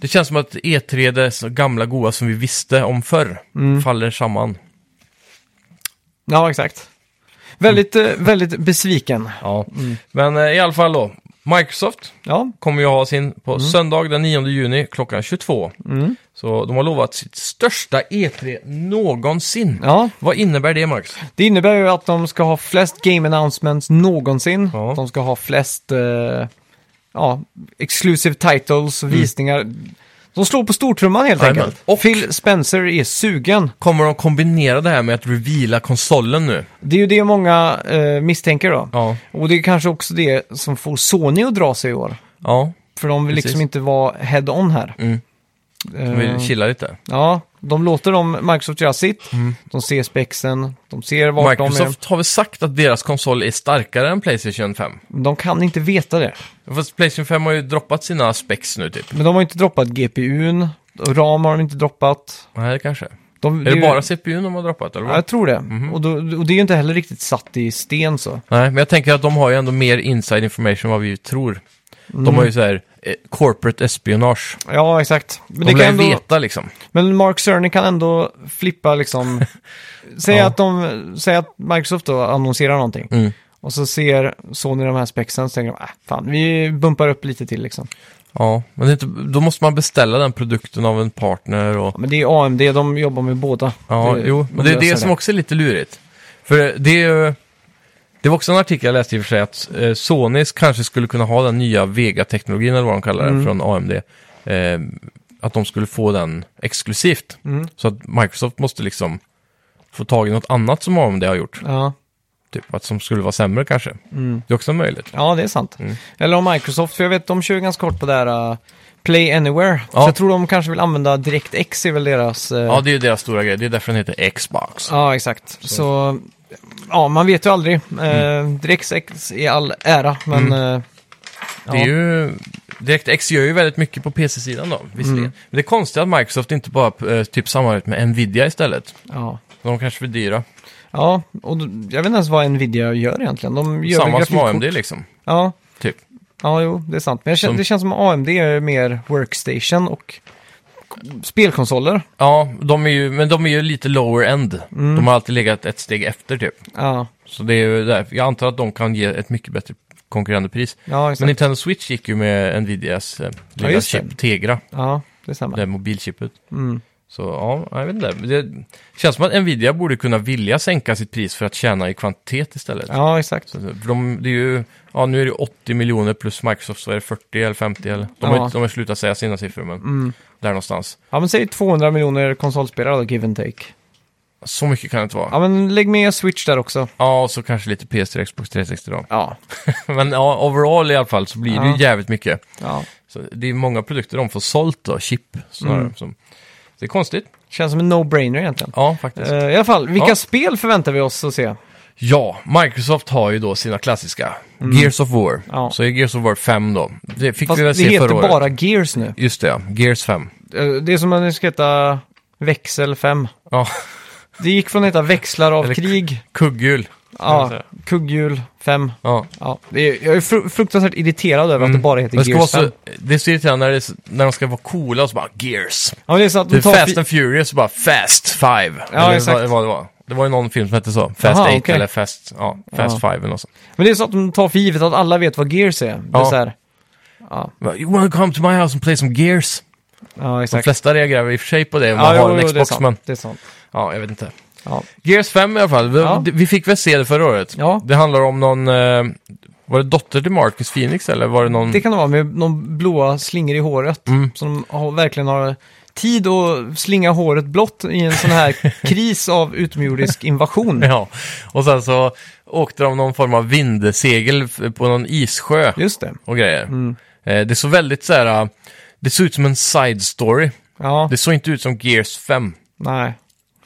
B: Det känns som att E3, det så gamla goa som vi visste om förr, faller samman.
A: Ja, exakt. Väldigt, eh, väldigt besviken.
B: Ja. Men eh, i alla fall då, Microsoft
A: Ja,
B: kommer ju ha sin på söndag den 9 juni klockan 22. Så de har lovat sitt största E3 någonsin.
A: ja,
B: Vad innebär det, Max?
A: det innebär ju att de ska ha flest game announcements någonsin.
B: Ja.
A: De ska ha flest eh, ja, exclusive titles och visningar. De slår på stortrumman helt
B: Mm. Jajamän.
A: enkelt.
B: Och-
A: Phil Spencer är sugen.
B: Kommer de kombinera det här med att reveala konsolen nu?
A: Det är ju det många eh, misstänker då.
B: Ja.
A: Och det är kanske också det som får Sony att dra sig i år.
B: Ja,
A: För de vill
B: Precis.
A: liksom inte vara head-on här.
B: Mm. de
A: Eh,
B: vill chilla lite.
A: ja, de låter dem Microsoft göra sitt. De ser spexen, de ser vart de
B: Mm. Microsoft har väl sagt att deras konsol är starkare än Playstation 5?
A: är. De kan inte veta det.
B: Fast Playstation 5 har ju droppat sina specs nu typ.
A: Men de har inte droppat GPUn, och RAM har de inte droppat.
B: Nej, kanske.
A: De,
B: Är det
A: ju-
B: bara Mhm. CPUn de har droppat eller?
A: Ja,
B: vad?
A: jag tror det. Och, då, och det är ju inte heller riktigt satt i sten så.
B: Nej, men jag tänker att de har ju ändå mer inside information än vad vi tror. De har ju så här eh, corporate espionage.
A: Mm. Ja, exakt. Men, det
B: De lär
A: kan
B: ju
A: ändå,
B: veta liksom.
A: men Mark Cerny kan ändå flippa
B: <laughs>
A: liksom. säg,
B: Ja.
A: att de, säg att Microsoft då annonserar någonting.
B: Mm.
A: Och så ser Sony de här spexen så tänker de, äh, fan, vi bumpar upp lite till liksom.
B: Ja, men det är inte, då måste man beställa den produkten av en partner och...
A: Ja, Men det är AMD, de jobbar med båda.
B: Ja,
A: Det-
B: jo,
A: de
B: men det är
A: löser
B: det som också är lite lurigt. För det är ju... Det var också en artikel jag läste i och för sig att eh, Sony kanske skulle kunna ha den nya Vega-teknologin eller vad de kallar det
A: Mm.
B: från AMD. Eh, att de skulle få den exklusivt.
A: Mm.
B: Så att Microsoft måste liksom få tag i något annat som AMD har gjort.
A: Ja.
B: Typ att som skulle vara sämre kanske.
A: Mm.
B: Det är också möjligt.
A: ja, det är sant.
B: Mm.
A: Eller om Microsoft, för jag vet de kör ju ganska kort på det här uh, Play Anywhere.
B: Ja.
A: Så jag tror de kanske vill använda DirectX, är väl deras... eh,
B: Ja, det är ju deras stora grej. Det är därför den heter Xbox.
A: Ja, exakt. Så, ja, man vet ju aldrig.
B: Mm.
A: Eh, DirectX i all ära, men... eh,
B: Det är ju... DirectX gör ju väldigt mycket på PC-sidan då, visserligen.
A: Mm.
B: Men det är konstigt att Microsoft inte bara eh, typ samarbetar med Nvidia istället.
A: ja.
B: De kanske blir dyra.
A: Ja, och då- jag vet inte ens vad Nvidia gör egentligen. De gör väl
B: Samma som
A: grafikkort.
B: AMD liksom.
A: Ja.
B: Typ.
A: ja, jo, det är sant. Men jag känner,
B: Som-
A: det känns som AMD är mer workstation och k- spelkonsoler.
B: Ja, de är ju, men de är ju lite lower end.
A: Mm.
B: De har alltid legat ett steg efter typ.
A: Ja,
B: Så det är ju där. Jag antar att de kan ge ett mycket bättre konkurrerande pris.
A: ja
B: Men
A: exakt.
B: Nintendo Switch gick ju med Nvidias eh, lilla
A: just det.
B: chip, Tegra,
A: Ja, det
B: det
A: stämmer.
B: här mobilchippet.
A: Mm.
B: Så ja, jag vet inte. Det känns som att Nvidia borde kunna vilja sänka sitt pris för att tjäna i kvantitet istället.
A: Ja, exakt.
B: Så, För de, det är ju, ja nu är det 80 miljoner plus Microsoft så är det 40 eller 50 eller, de har,
A: Ja. Mm.
B: ju- de har slutat säga sina siffror men där någonstans.
A: Ja, men säg 200 miljoner konsolspelare då, give and take.
B: Så mycket kan det inte vara.
A: Ja, men lägg med Switch där också.
B: Ja, och så kanske lite PS3 Xbox 360 då. <laughs>
A: Ja,
B: Men ja, overall i alla fall så blir det
A: Ja.
B: ju jävligt mycket.
A: ja.
B: Så det är många produkter de får sålt då, chip snarare.
A: Mm.
B: Som, det är konstigt.
A: Känns som en no-brainer egentligen.
B: Ja, faktiskt.
A: Eh, I alla fall, vilka
B: Ja.
A: spel förväntar vi oss att se?
B: Ja, Microsoft har ju då sina klassiska Gears of War.
A: Mm. Ja.
B: Så är Gears of War 5 då. Det fick
A: Fast
B: vi
A: det
B: väl se
A: heter
B: förra året.
A: bara Gears nu.
B: Just det, ja. Gears 5.
A: Eh, Det är som om det ska heta Växel 5.
B: Ja, <laughs>
A: Det gick från att heta Växlar av
B: Eller-
A: krig,
B: kugghjul. jag
A: ja,
B: säga.
A: kugghjul 5.
B: Ja.
A: Ja, det är, jag är fru- fruktansvärt irriterad över att det bara heter
B: Men det, Mm. ska
A: Gears
B: vara
A: 5.
B: så, det är så irriterande när, det, är så- när de ska vara coola och så bara Gears.
A: Ja, det är så att
B: Det
A: de
B: är
A: tar...
B: Fast
A: fi-
B: and Furious och bara Fast Five.
A: Ja,
B: eller
A: exakt.
B: Vad, vad det, var. det var ju någon film som hette så. Fast
A: Aha,
B: Eight
A: okej.
B: eller Fast, ja, fast Five eller något sånt.
A: Men det är så att de tar för givet att alla vet vad Gears är. Det är
B: Ja.
A: så här,
B: Bara, You wanna come to my house and play some Gears?
A: ja,
B: De
A: exakt.
B: flesta reagerar i och för sig på det om man har en
A: det är
B: Xbox, men
A: sant. Det är sant.
B: ja, jag vet inte.
A: Ja.
B: Gears 5 i alla fall. Vi,
A: Ja.
B: det- vi fick väl se det förra året.
A: Ja.
B: Det handlar om någon, eh, var det dotter till Marcus Phoenix eller var det någon?
A: Det kan det vara med någon blåa slingor i håret.
B: Mm.
A: Som har, verkligen har tid att slinga håret blått i en sån här
B: <laughs>
A: kris av utomjordisk invasion.
B: <laughs> Ja, och sen så åkte de någon form av vindsegel f- på någon issjö
A: Just det.
B: och grejer.
A: Mm.
B: Eh, det såg väldigt så här, eh, det såg ut som en side story.
A: Ja,
B: Det såg inte ut som Gears 5.
A: nej.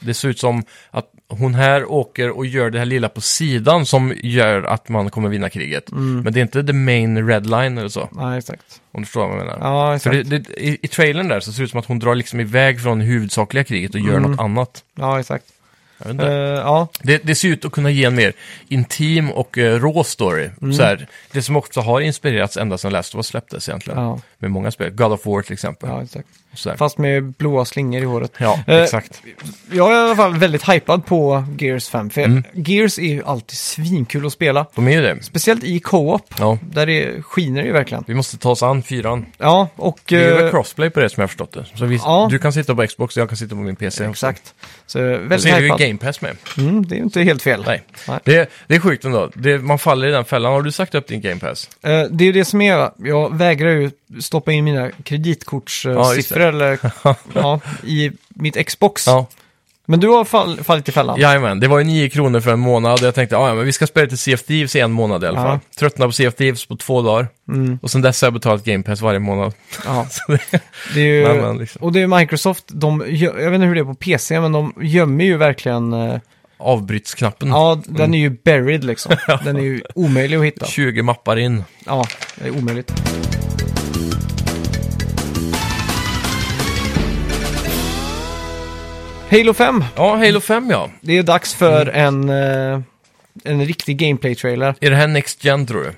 B: Det såg ut som att hon här åker och gör det här lilla på sidan som gör att man kommer vinna kriget.
A: Mm.
B: Men det är inte the main red line eller så,
A: Nej, exakt.
B: om du förstår vad jag menar.
A: Ja,
B: För
A: exakt.
B: det, det, i, I trailern där så ser det ut som att hon drar liksom iväg från det huvudsakliga kriget och gör något annat.
A: Ja, exakt.
B: Jag vet
A: Mm. Eh,
B: inte.
A: ja,
B: Det, det ser ut att kunna ge en mer intim och uh, rå story.
A: Mm.
B: Så här, det som också har inspirerats ända sedan Last of Us släpptes egentligen.
A: Ja.
B: Med många spel. God of War till exempel.
A: ja, exakt.
B: Så här.
A: Fast med blåa slingor i håret.
B: ja
A: Eh,
B: exakt.
A: Jag är i alla fall väldigt hypad på Gears 5. För
B: Mm.
A: Gears är ju alltid svinkul att spela.
B: De är ju det.
A: Speciellt i co-op.
B: Ja.
A: Där det skiner ju verkligen.
B: Vi måste ta oss an fyran.
A: Ja, och...
B: Det är
A: eh,
B: väl crossplay på det som jag har förstått det. Så vi,
A: Ja.
B: du kan sitta på Xbox och jag kan sitta på min PC. också.
A: Exakt. Så jag är
B: Och så
A: väldigt
B: är Alltså, det ju
A: hypad.
B: Game Pass med.
A: Mm, det är ju inte helt fel.
B: Nej.
A: Nej.
B: Det, det är sjukt ändå. Det, man faller i den fällan. Har du sagt upp din Game Pass?
A: Eh, det är ju det som är, va? jag vägrar ju stoppa in mina kreditkortssiffror
B: Ja, just det.
A: siffror eller
B: <laughs>
A: ja, i mitt Xbox.
B: Ja.
A: Men du har fall, fallit i fällan.
B: Jajamän, det var ju 9 kronor för en månad. Jag tänkte, "Ah, ja men vi ska spela till CF Thieves i en månad i alla
A: Ja. Mm.
B: fall. Tröttnade på CF Thieves på två dagar. Och sen dess har jag betalat Game Pass varje månad. <laughs>
A: Ja.
B: Så det-
A: Det är ju,
B: Men, men, liksom.
A: Och det är Microsoft, de, gö- jag vet inte hur det är på PC, men de gömmer ju verkligen, eh,
B: Avbrytsknappen.
A: ja
B: Mm.
A: den är ju buried
B: <laughs>
A: liksom. Den är ju omöjlig att hitta.
B: 20 mappar in.
A: Ja, det är omöjligt. Halo 5,
B: Ja, Halo 5 ja.
A: det är dags
B: Mm.
A: för en, eh, en riktig gameplay-trailer.
B: Är det här Next Gen tror du?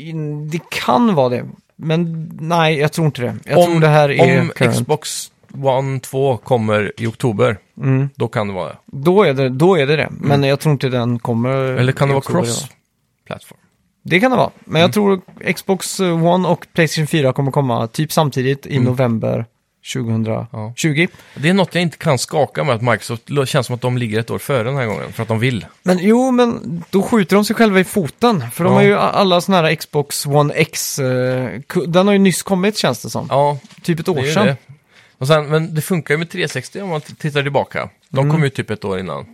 A: in- Det kan vara det. Men nej, jag tror inte det. Jag
B: om
A: tror det här är...
B: om
A: current.
B: Xbox One 2 kommer i oktober,
A: Mm.
B: då kan det vara det.
A: Då, är det, då är det det. Men jag tror inte den kommer...
B: Mm. Eller kan det
A: i
B: vara
A: oktober
B: Mm.
A: i år.
B: cross-plattform?
A: Det kan det vara. Men jag tror Xbox One och Playstation 4 kommer komma typ samtidigt
B: Mm.
A: i november 2020.
B: Det är något jag inte kan skaka med att Microsoft det känns som att de ligger ett år före den här gången, för att de vill.
A: Men jo, men då skjuter de sig själva i foten. För de
B: Ja.
A: har ju a- alla sådana här Xbox One X. eh, ku- Den har ju nyss kommit känns det som.
B: Ja,
A: Typ ett
B: det
A: år
B: är ju
A: sedan.
B: det. Och sen, men det funkar ju med 360 om man t- tittar tillbaka. De
A: Mm.
B: kom ju typ ett år innan.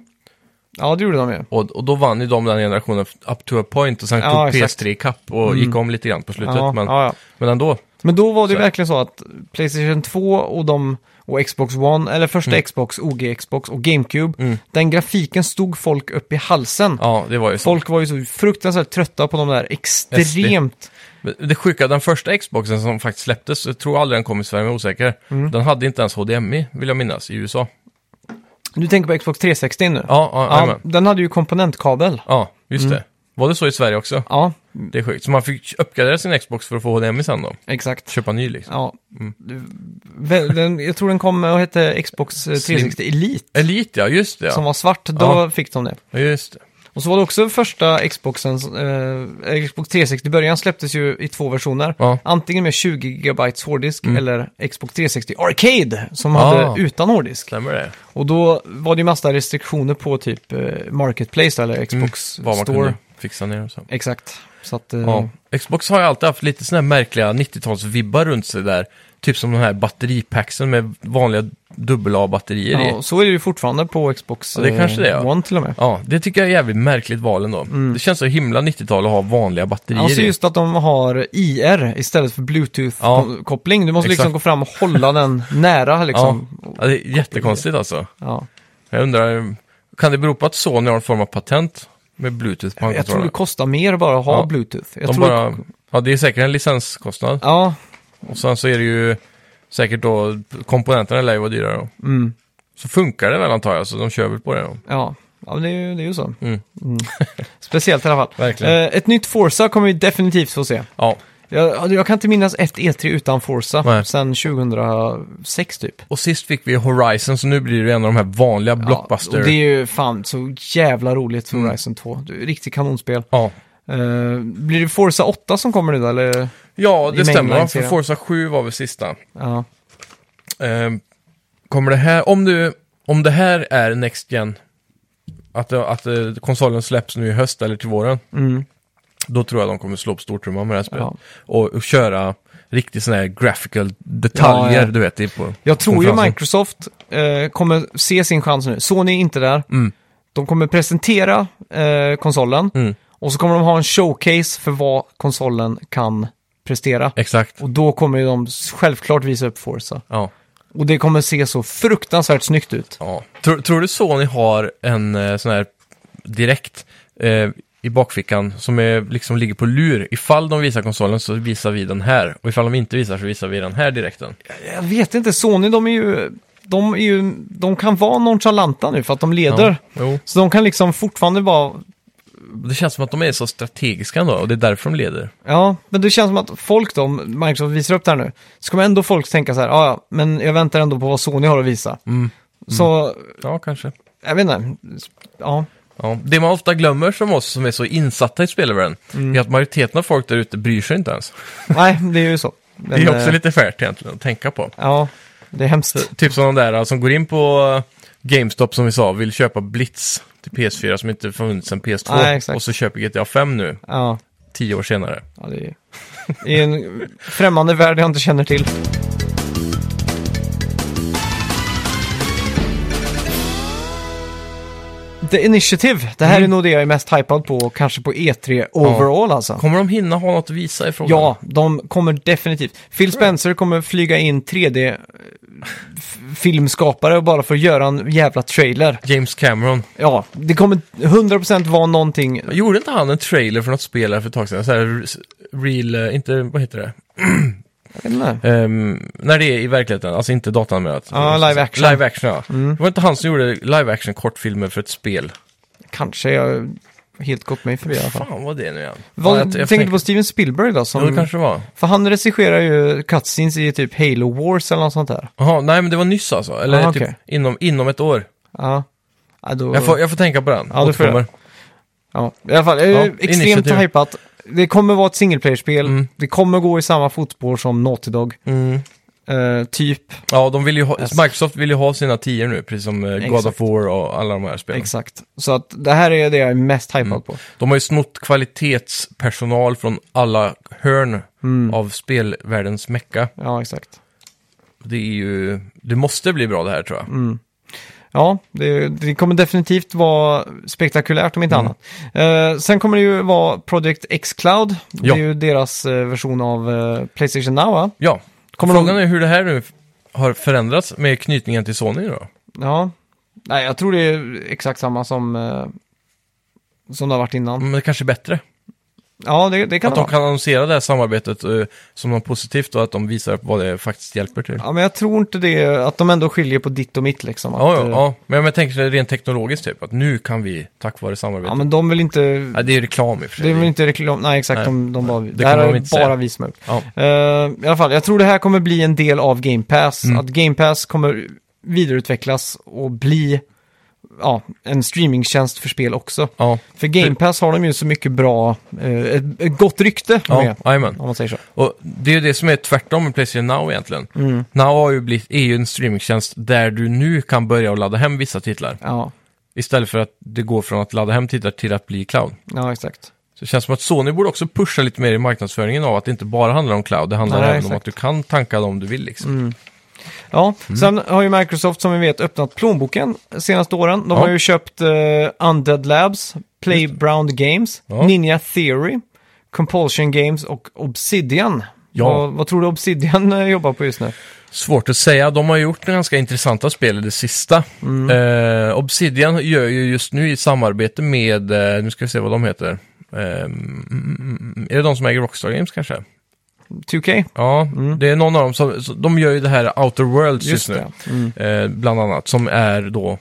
A: Ja, det gjorde de ju.
B: Och, och då vann ju de den generationen up to a point och sen
A: Ja,
B: tog
A: exakt. Mm.
B: PS3 ikapp och gick om lite grann på slutet.
A: Ja,
B: men,
A: ja, ja.
B: men ändå,
A: Men då var det
B: Så
A: ju
B: är det.
A: verkligen så att Playstation 2 och, de, och Xbox One, eller första
B: Mm.
A: Xbox, OG Xbox och GameCube,
B: Mm.
A: den grafiken stod folk upp i halsen.
B: ja det var ju så.
A: Folk var ju så fruktansvärt trötta på de där extremt...
B: Men Det sjuka, den första Xboxen som faktiskt släpptes, jag tror aldrig den kom i Sverige, men jag är osäker.
A: Mm.
B: Den hade inte ens HDMI, vill jag minnas, i USA.
A: Du tänker på Xbox 360 nu?
B: Ja, ja,
A: ja Mm.
B: ja,
A: den hade ju komponentkabel.
B: ja just det. Var det så i Sverige också?
A: Ja,
B: Det är sjukt. Så man fick uppgradera sin Xbox för att få HDMI sen då?
A: exakt.
B: Köpa ny liksom.
A: Ja. Väl- Den, jag tror den kom och hette Xbox 360 Elite,
B: Elite ja, just det ja.
A: som var svart. Då
B: Ja.
A: fick de det.
B: ja just det.
A: Och så var det också första Xboxen, eh, Xbox 360 i början släpptes ju i två versioner.
B: Ja. Mm.
A: Antingen med 20 GB hårddisk eller Xbox 360 Arcade som
B: Ah.
A: hade utan hårddisk.
B: Stämmer det?
A: Och då var det ju massa restriktioner på typ eh, Marketplace eller Xbox
B: Mm. Vad
A: Mm.
B: man
A: Store.
B: kunde fixa ner och så.
A: Exakt. Så att, eh,
B: Ja. Xbox har ju alltid haft lite sådana här märkliga 90-talsvibbar runt sig där. Typ som den här batteripacksen med vanliga AA-batterier
A: ja,
B: i.
A: och så är det ju fortfarande på Xbox eh,
B: Ja, det kanske det är, ja.
A: One till och med.
B: Ja, det tycker jag är jävligt märkligt val ändå. Det känns så himla 90-tal att ha vanliga batterier
A: Alltså
B: i.
A: Mm. just att de har IR istället för
B: Ja.
A: Bluetooth-koppling. Du måste liksom
B: Exakt.
A: gå fram och hålla den
B: <laughs>
A: nära
B: ja.
A: liksom.
B: ja, det är jättekonstigt alltså.
A: Ja.
B: Jag undrar, kan det bero på att Sony har en form av patent med Bluetooth på
A: Jag tror det
B: handkontrollen?
A: kostar mer bara att ha
B: Ja.
A: Bluetooth. Jag
B: De
A: tror
B: bara, ja, det är säkert en licenskostnad.
A: Ja,
B: Och sen så är det ju säkert då, komponenterna lär ju vara dyrare då.
A: mm,
B: Så funkar det väl antar jag, så de kör väl på det då.
A: ja. ja men det, är ju, det är ju så.
B: Mm.
A: Mm. <laughs> Speciellt i alla fall.
B: Verkligen.
A: Eh, ett nytt Forza kommer vi definitivt få se.
B: Ja,
A: Jag, jag kan inte minnas ett E3 utan Forza
B: Nej.
A: sedan 2006 typ.
B: och sist fick vi Horizon, så nu blir det en av de här vanliga
A: Ja,
B: blockbuster... Mm.
A: och det är ju fan så jävla roligt för Horizon 2. Det är ett Riktigt kanonspel.
B: Ja.
A: Eh, blir det Forza 8 som kommer nu då, eller?
B: ja, det
A: I
B: stämmer.
A: mainline
B: För
A: serien.
B: Forza 7 var väl sista.
A: Ja.
B: Ehm, kommer det här, om, du, om det här är Next Gen, att, det- att eh, konsolen släpps nu i höst eller till våren,
A: Mm.
B: då tror jag de kommer slå upp stortrumman med det här spelet.
A: Ja.
B: Och, och köra riktigt sådana här graphical detaljer,
A: Ja, ja.
B: du vet. Det är på
A: Jag tror ju
B: konferensen.
A: Microsoft eh, kommer se sin chans nu. Sony är inte där.
B: Mm.
A: De kommer presentera eh, konsolen
B: Mm.
A: och så kommer de ha en showcase för vad konsolen kan prestera.
B: Exakt.
A: Och då kommer ju de självklart visa upp Forza.
B: Ja.
A: Och det kommer se så fruktansvärt snyggt ut.
B: Ja. Tror, tror du Sony har en eh, sån här direkt eh, i bakfickan som är, liksom ligger på lur? Ifall de visar konsolen så visar vi den här. Och ifall de inte visar så visar vi den här direkten.
A: Jag vet inte, Sony de är ju... De, är ju, de kan vara nonchalanta nu för att de leder.
B: Ja. Jo.
A: Så de kan liksom fortfarande vara
B: Det känns som att de är så strategiska ändå och det är därför de leder.
A: Ja, men det känns som att folk då, om Microsoft visar upp det här nu, så kommer ändå folk tänka så här, "Ja, ja, men jag väntar ändå på vad Sony har att visa.
B: Mm.
A: Så,
B: Ja, kanske.
A: jag vet inte, ja,
B: Ja. Det man ofta glömmer som oss som är så insatta i spelvärlden
A: Mm.
B: är att majoriteten av folk där ute bryr sig inte ens.
A: nej, det är ju så. Men,
B: det är också
A: eh,
B: lite färt egentligen att tänka på.
A: Ja, det är hemskt.
B: Typ som de där eh, som går in på eh, GameStop som vi sa, vill köpa Blitz till PS4 som inte funnits sedan PS2.
A: Nej, exakt.
B: och så köper GTA 5 nu,
A: Ja,
B: tio år senare.
A: ja det är i en främmande värld jag inte känner till. The Initiative, det här
B: Mm.
A: är nog det jag är mest hypad på, kanske på E3 overall alltså.
B: Kommer de hinna ha något att visa i frågan?
A: Ja, de kommer definitivt. Phil Spencer kommer flyga in 3D-filmskapare bara för att göra en jävla trailer.
B: James Cameron.
A: Ja, det kommer 100% vara någonting.
B: Gjorde inte han en trailer för något spel här för ett tag sedan? Så här, re- real, eh, inte, vad heter det?
A: Jag vet inte.
B: Ehm, när det är i verkligheten, alltså inte Alltså, datanimerat.
A: Ja, live action. Mm.
B: Live action, ja. Det var inte han som gjorde live action kortfilmer för ett spel.
A: Kanske, jag helt gått mig förbi i alla fall.
B: Fan vad det är nu igen.
A: Vad,
B: Ja, jag- jag
A: tänkte du på Steven Spielberg då? Som,
B: Jo, det kanske det var.
A: För han regisserar ju cutscenes i typ Halo Wars eller något sånt där.
B: Jaha, nej men det var nyss alltså. Eller
A: Ah,
B: typ
A: okej.
B: inom, inom ett år.
A: Ja. Ja, då,
B: Jag får, jag får tänka på den.
A: Ja, du får
B: Återkommer.
A: ja. I alla fall, ja,
B: Ja,
A: extremt
B: initiativ.
A: hypat. Det kommer vara ett singleplayer-spel.
B: Mm.
A: Det kommer gå i samma fotspår som Naughty Dog.
B: Mm.
A: Eh, typ,
B: Ja, de vill ju ha,
A: Alltså.
B: Microsoft vill ju ha sina tior nu, precis som eh, God
A: Exakt.
B: of War och alla de här spelen.
A: exakt. Så att det här är det jag är mest hypad
B: Mm.
A: på.
B: De har ju snott kvalitetspersonal från alla hörn
A: Mm.
B: av spelvärldens mecka.
A: Ja, exakt.
B: Det är ju... Det måste bli bra det här tror jag.
A: Mm. Ja, det, det kommer definitivt vara spektakulärt om inte
B: Mm.
A: annat. Eh, sen kommer det ju vara Project X Cloud.
B: Ja.
A: Det är ju deras eh, version av eh, Playstation Now, va?
B: Ja.
A: Kommer
B: Frågan
A: de-
B: är hur det här nu har förändrats med knytningen till Sony då?
A: Ja. Nej, jag tror det är exakt samma som, eh, som det har varit innan.
B: Men det kanske är bättre.
A: Ja, det, det kan
B: Att
A: det
B: de
A: vara.
B: kan annonsera det här samarbetet eh, som något positivt och att de visar vad det faktiskt hjälper till.
A: Ja, men jag tror inte det, att de ändå skiljer på ditt och mitt liksom. Att,
B: Ja, ja,
A: eh,
B: ja. Men jag tänker rent teknologiskt typ, att nu kan vi tack vare
A: ja,
B: samarbetet.
A: men de vill inte...
B: Ja, det är ju reklam i och för
A: Det
B: sig.
A: är väl inte reklam, nej exakt,
B: Nej.
A: de, de bara, det här
B: kommer
A: är
B: de
A: bara
B: inte säga.
A: vi som har gjort.
B: Ja.
A: Eh, I alla fall, jag tror det här kommer bli en del av Game Pass.
B: Mm.
A: Att Game Pass kommer vidareutvecklas och bli ja, en streamingtjänst för spel också.
B: Ja,
A: För Game Pass har de ju så mycket bra, eh, ett, ett gott rykte
B: ja,
A: med,
B: jajamän.
A: om man säger så.
B: Och det är ju det som är tvärtom med Playstation Now egentligen.
A: Mm.
B: Now har ju blivit, är ju en streamingtjänst där du nu kan börja att ladda hem vissa titlar.
A: Ja,
B: Istället för att det går från att ladda hem titlar till att bli cloud.
A: ja exakt.
B: Så det känns som att Sony borde också pusha lite mer i marknadsföringen av att det inte bara handlar om cloud. Det handlar
A: Nej,
B: även om
A: exakt.
B: att du kan tanka dem du vill liksom.
A: Ja,
B: Mm.
A: sen har ju Microsoft som vi vet öppnat plånboken de senaste åren. De
B: Ja.
A: har ju köpt eh, Undead Labs, Playground Games,
B: Ja.
A: Ninja Theory, Compulsion Games och Obsidian.
B: Ja.
A: Vad, vad tror du Obsidian eh, jobbar på just nu?
B: Svårt att säga. De har gjort ganska intressanta spel i det sista.
A: Mm.
B: Eh, Obsidian gör ju just nu i samarbete med, eh, nu ska vi se vad de heter. Eh, mm, mm, mm. är det de som äger Rockstar Games kanske?
A: 2K?
B: Ja, det är någon av dem som, så- de gör ju det här Outer Worlds
A: Mm. Just
B: just,
A: det.
B: nu. Eh, bland annat, som är då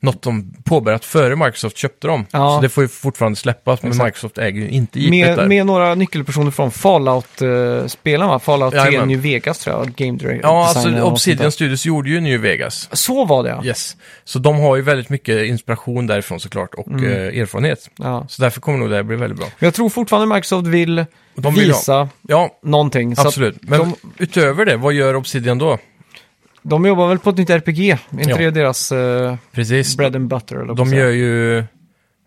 B: något de påbörjat före Microsoft köpte dem.
A: Ja.
B: Så det får ju fortfarande släppas, men
A: Exakt.
B: Microsoft äger ju inte IP där.
A: Med, med några nyckelpersoner från Fallout-spelen va? Fallout 3
B: Jajamän.
A: New Vegas tror jag, Game Designer
B: ja, alltså
A: och sånt där.
B: Obsidian Studios gjorde ju New Vegas.
A: Så var det ja.
B: Yes. Så de har ju väldigt mycket inspiration därifrån såklart och
A: Mm.
B: eh, erfarenhet.
A: ja.
B: Så därför kommer nog det här bli väldigt bra.
A: Men Jag tror fortfarande Microsoft vill
B: De vill ha-
A: visa
B: Ja,
A: någonting. Så att
B: absolut. Men
A: de-
B: utöver det, vad gör Obsidian då?
A: de jobbar väl på ett nytt RPG? Är inte
B: Ja.
A: det deras... eh,
B: Precis.
A: Bread and butter, eller vad
B: De
A: man säger.
B: gör ju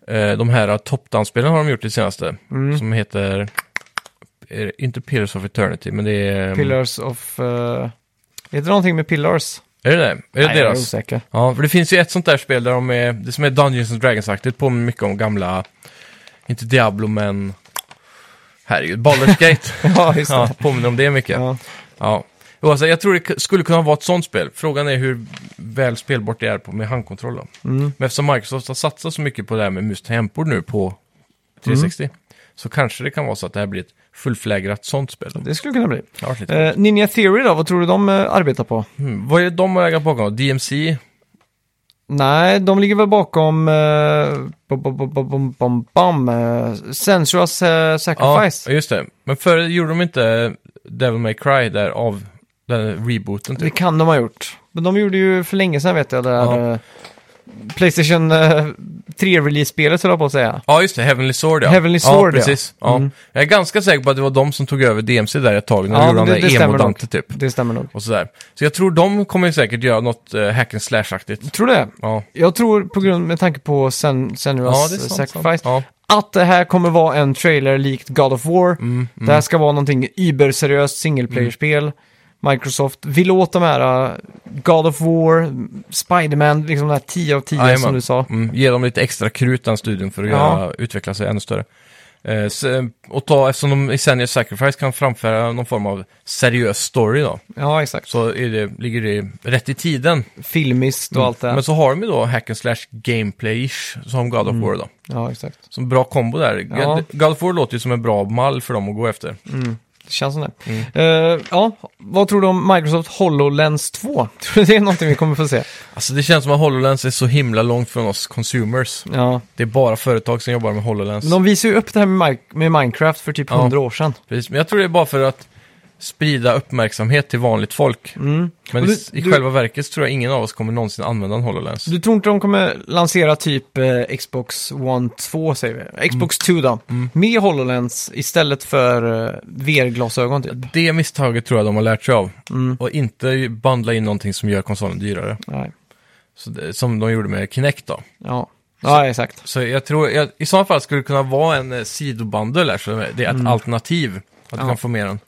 B: eh, de här toppdansspelen har de gjort det senaste.
A: Mm.
B: Som heter, är det inte Pillars of Eternity, men det är...
A: Pillars of... Uh, är det någonting med Pillars?
B: Är det det? Är det
A: Nej, Jag är
B: deras?
A: osäker. <laughs>
B: Ja, för det finns ju ett sånt där spel där de är, det som är Dungeons and Dragons-aktigt, påminner mycket om gamla, inte Diablo men, herregud,
A: <laughs>
B: Baldur's Gate.
A: ja, just det.
B: ja,
A: Ja.
B: påminner om det mycket. Ja. Och alltså, jag tror det k- skulle kunna vara ett sånt spel. Frågan är hur väl spelbart det är på, med handkontroll då.
A: Mm.
B: Men eftersom Microsoft har satsat så mycket på det här med mus tempor nu på 360.
A: Mm.
B: Så kanske det kan vara så att det här blir ett fullflägrat sånt spel. Då.
A: Det skulle kunna bli.
B: Det har varit lite...
A: Eh, Ninja Theory då, vad tror du de eh, arbetar på?
B: mm. Vad är de har legat bakom? DMC?
A: Nej, de ligger väl bakom... Uh, bom, bom, bom, bom, bom, bom, eh, Sensuous eh, Sacrifice.
B: Ja, just det. Men före gjorde de inte Devil May Cry där av den rebooten
A: det
B: typ.
A: kan de ha gjort. Men de gjorde ju för länge sedan vet jag det här...
B: Ja.
A: eh, Playstation eh, 3-release-spelet höll jag på att säga.
B: Ja, just det. Heavenly Sword, ja.
A: Heavenly
B: ja.
A: Sword, ja. Mm.
B: precis. Ja. Jag är ganska säker på att det var de som tog över DMC där ett tag. När de
A: Ja,
B: gjorde
A: men
B: det,
A: det, det
B: det
A: stämmer nog.
B: emo-dante typ.
A: Det stämmer nog.
B: och sådär. Så jag tror de kommer ju säkert göra något eh, hack and slash-aktigt.
A: Tror du det?
B: Ja.
A: Jag tror på grund med tanke på Sen, Senua's
B: ja, det är sant.
A: Sacrifice
B: sant.
A: att det här kommer vara en trailer likt God of War.
B: Mm,
A: Mm. Det här ska vara någonting überseriöst singleplayer-spel. Microsoft vill åt de här uh, God of War, Spider-Man, liksom de här 10 av 10
B: Ja. Jajamän.
A: som du sa.
B: Mm, ge dem lite extra krut den studien för att
A: Ja.
B: göra, utveckla sig ännu större. Eh, se- och ta, eftersom de i Senior Sacrifice kan framföra någon form av seriös story då,
A: Ja, exakt.
B: så är det, ligger det rätt i tiden.
A: Filmiskt och allt det här.
B: Mm. Men så har de ju då hack and slash gameplay-ish, som God of War då.
A: Ja, exakt.
B: Som bra kombo där.
A: Ja.
B: Mm. God of War låter ju som en bra mall för dem att gå efter.
A: Det känns som det.
B: Mm.
A: Eh, ja, vad tror du om Microsoft HoloLens 2? <laughs> Tror du det är någonting vi kommer få se?
B: Alltså det känns som att HoloLens är så himla långt från oss consumers.
A: Ja.
B: Det är bara företag som jobbar med HoloLens.
A: Men de visade ju upp det här med, Mi- med Minecraft för typ
B: Ja.
A: 100 år sedan.
B: Precis, men jag tror det är bara för att sprida uppmärksamhet till vanligt folk. Men
A: Och
B: i-
A: du-
B: i
A: du-
B: själva verket så tror jag ingen av oss kommer någonsin använda en HoloLens.
A: Du tror inte de kommer lansera typ eh, Xbox One 2 säger
B: Mm.
A: vi? Xbox 2 då. Med HoloLens istället för eh, VR-glasögon typ.
B: Det misstaget tror jag de har lärt sig av.
A: Mm.
B: Och inte bandla in någonting som gör konsolen dyrare.
A: Nej.
B: Så det, som de gjorde med Kinect då.
A: Ja. ja, exakt.
B: Så jag tror, jag, i så fall skulle det kunna vara en eh, sidobundle här, så det är ett alternativ. Att du
A: Mm. Ja.
B: kan få med den.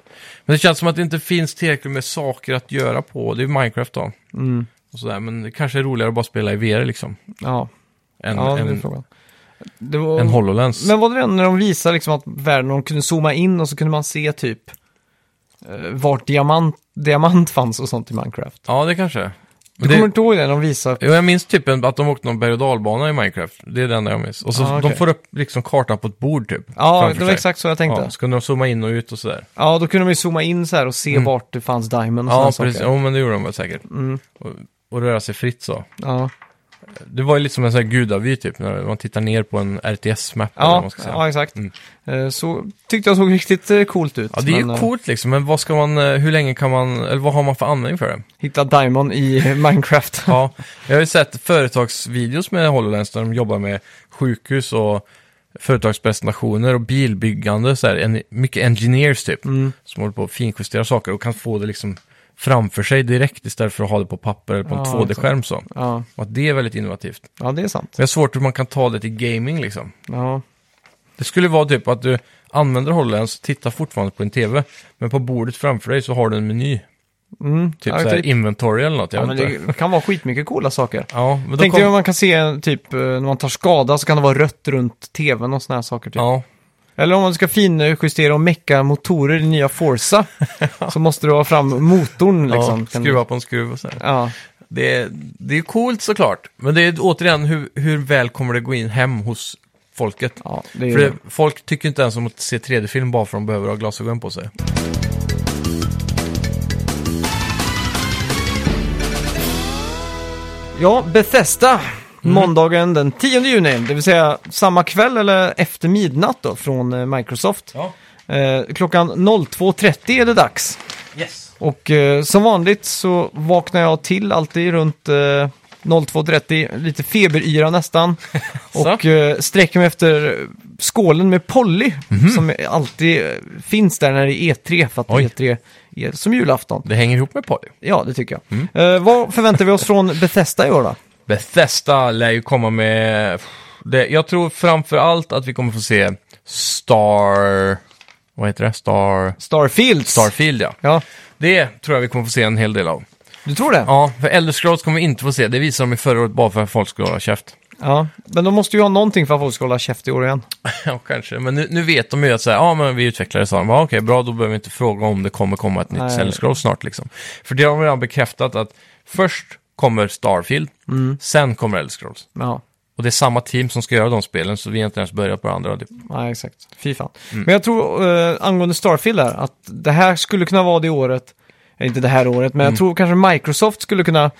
B: Men det känns som att det inte finns tillräckligt med saker att göra på. Det är Minecraft då.
A: Mm.
B: Och sådär. Men det kanske är roligare att bara spela i VR liksom.
A: Ja,
B: Än,
A: ja det är
B: än,
A: frågan. Det var...
B: än HoloLens.
A: Men var det den när de visade liksom att världen, de kunde zooma in och så kunde man se typ eh, vart diamant, diamant fanns och sånt i Minecraft.
B: Ja, det kanske är.
A: Du
B: Men det,
A: kommer inte ihåg det när de visade?
B: Jo, jag minns typ en, att de åkte någon berg och dalbana i Minecraft. Det är det enda jag minns. Och så
A: Ah, okej.
B: de får upp liksom kartan på ett bord typ.
A: Ja, det
B: framför
A: var
B: sig.
A: exakt så jag tänkte.
B: Ja, så kunde de zooma in och ut och sådär.
A: Ja, då kunde de ju zooma in så här och se vart det fanns diamond och
B: Mm. Ja,
A: sådana
B: precis.
A: saker. Mm.
B: Jo, men det gjorde de väl säkert. Och, och röra sig fritt så.
A: Ja,
B: Det var ju lite som en sån här gudavy typ, när man tittar ner på en RTS-map. eller vad
A: ja,
B: man ska säga.
A: ja exakt.
B: Mm.
A: Eh, Så tyckte jag såg riktigt eh, coolt ut.
B: ja, det är ju
A: men, eh,
B: coolt liksom, men vad ska man, eh, hur länge kan man, eller vad har man för användning för det?
A: Hitta diamond i <laughs> Minecraft.
B: Ja, jag har ju sett företagsvideos med HoloLens där de jobbar med sjukhus och företagspresentationer och bilbyggande. Så här, en, mycket engineers typ,
A: Mm.
B: som håller på att finjustera saker och kan få det liksom framför sig direkt istället för att ha det på papper eller på en
A: Ja,
B: 2D-skärm. Så.
A: Ja,
B: Och att det är väldigt innovativt.
A: ja det är sant.
B: Jag har svårt hur man kan ta det till gaming liksom.
A: Ja,
B: Det skulle vara typ att du använder HoloLens och tittar fortfarande på en TV, men på bordet framför dig så har du en meny.
A: mm.
B: Typ
A: ja,
B: så här inventory eller något, jag
A: ja, men
B: vet inte.
A: det <laughs> kan vara skitmycket coola saker.
B: Ja, men då
A: Tänkte
B: kom-
A: jag man kan se typ eh, när man tar skada så kan det vara rött runt tvn och såna här saker. Typ.
B: Ja,
A: Eller om man ska finjustera och mecka motorer i nya
B: <laughs>
A: Forza så måste du ha fram motorn liksom.
B: ja,
A: Kan-
B: skruva på en skruv och så här.
A: Ja,
B: Det är, det är coolt såklart, men det är återigen hur, hur väl kommer det gå in hem hos folket?
A: ja, det är
B: För det, folk tycker inte ens om att se 3D-film bara för att de behöver ha glasögon på sig.
A: Ja, Bethesda.
B: Mm.
A: Måndagen den 10 juni, det vill säga samma kväll eller efter midnatt då från eh, Microsoft.
B: Ja.
A: Eh, klockan 02.30 är det dags.
B: Yes.
A: Och eh, som vanligt så vaknar jag till alltid runt eh, 02.30, lite feberyra nästan.
B: <laughs> Så.
A: och eh, sträcker mig efter skålen med Polly, som alltid eh, finns där när det är E3, för att
B: Mhm. Oj.
A: E3 är som julafton.
B: Det hänger ihop med Polly.
A: Ja, det tycker
B: Mm.
A: jag. Eh, vad förväntar vi oss från Bethesda i år då?
B: Bethesda lär ju komma med... Det, jag tror framför allt att vi kommer få se Star... Vad heter det? Star...
A: Starfields.
B: Starfield, ja.
A: Ja,
B: Det tror jag vi kommer få se en hel del av.
A: du tror det?
B: Ja, för Elder Scrolls kommer vi inte få se. Det visade de i förra året bara för att folk skulle hålla käft.
A: Ja. Men de måste ju ha någonting för att folk ska hålla käft i år igen.
B: Ja, kanske. Men nu, nu vet de ju att så här, ja, men vi utvecklare sa de, ja, okej, bra, då behöver vi inte fråga om det kommer komma ett nytt
A: Nej.
B: Elder Scrolls snart. Liksom. För det har de redan bekräftat att först kommer Starfield,
A: Mm.
B: sen kommer Elder Scrolls.
A: Ja,
B: Och det är samma team som ska göra de spelen, så vi har inte ens börjat på det andra. Typ.
A: nej, exakt. Fy fan.
B: Mm.
A: Men jag tror, eh, angående Starfield där, att det här skulle kunna vara det året, eh, inte det här året,
B: Mm.
A: men jag tror kanske Microsoft skulle kunna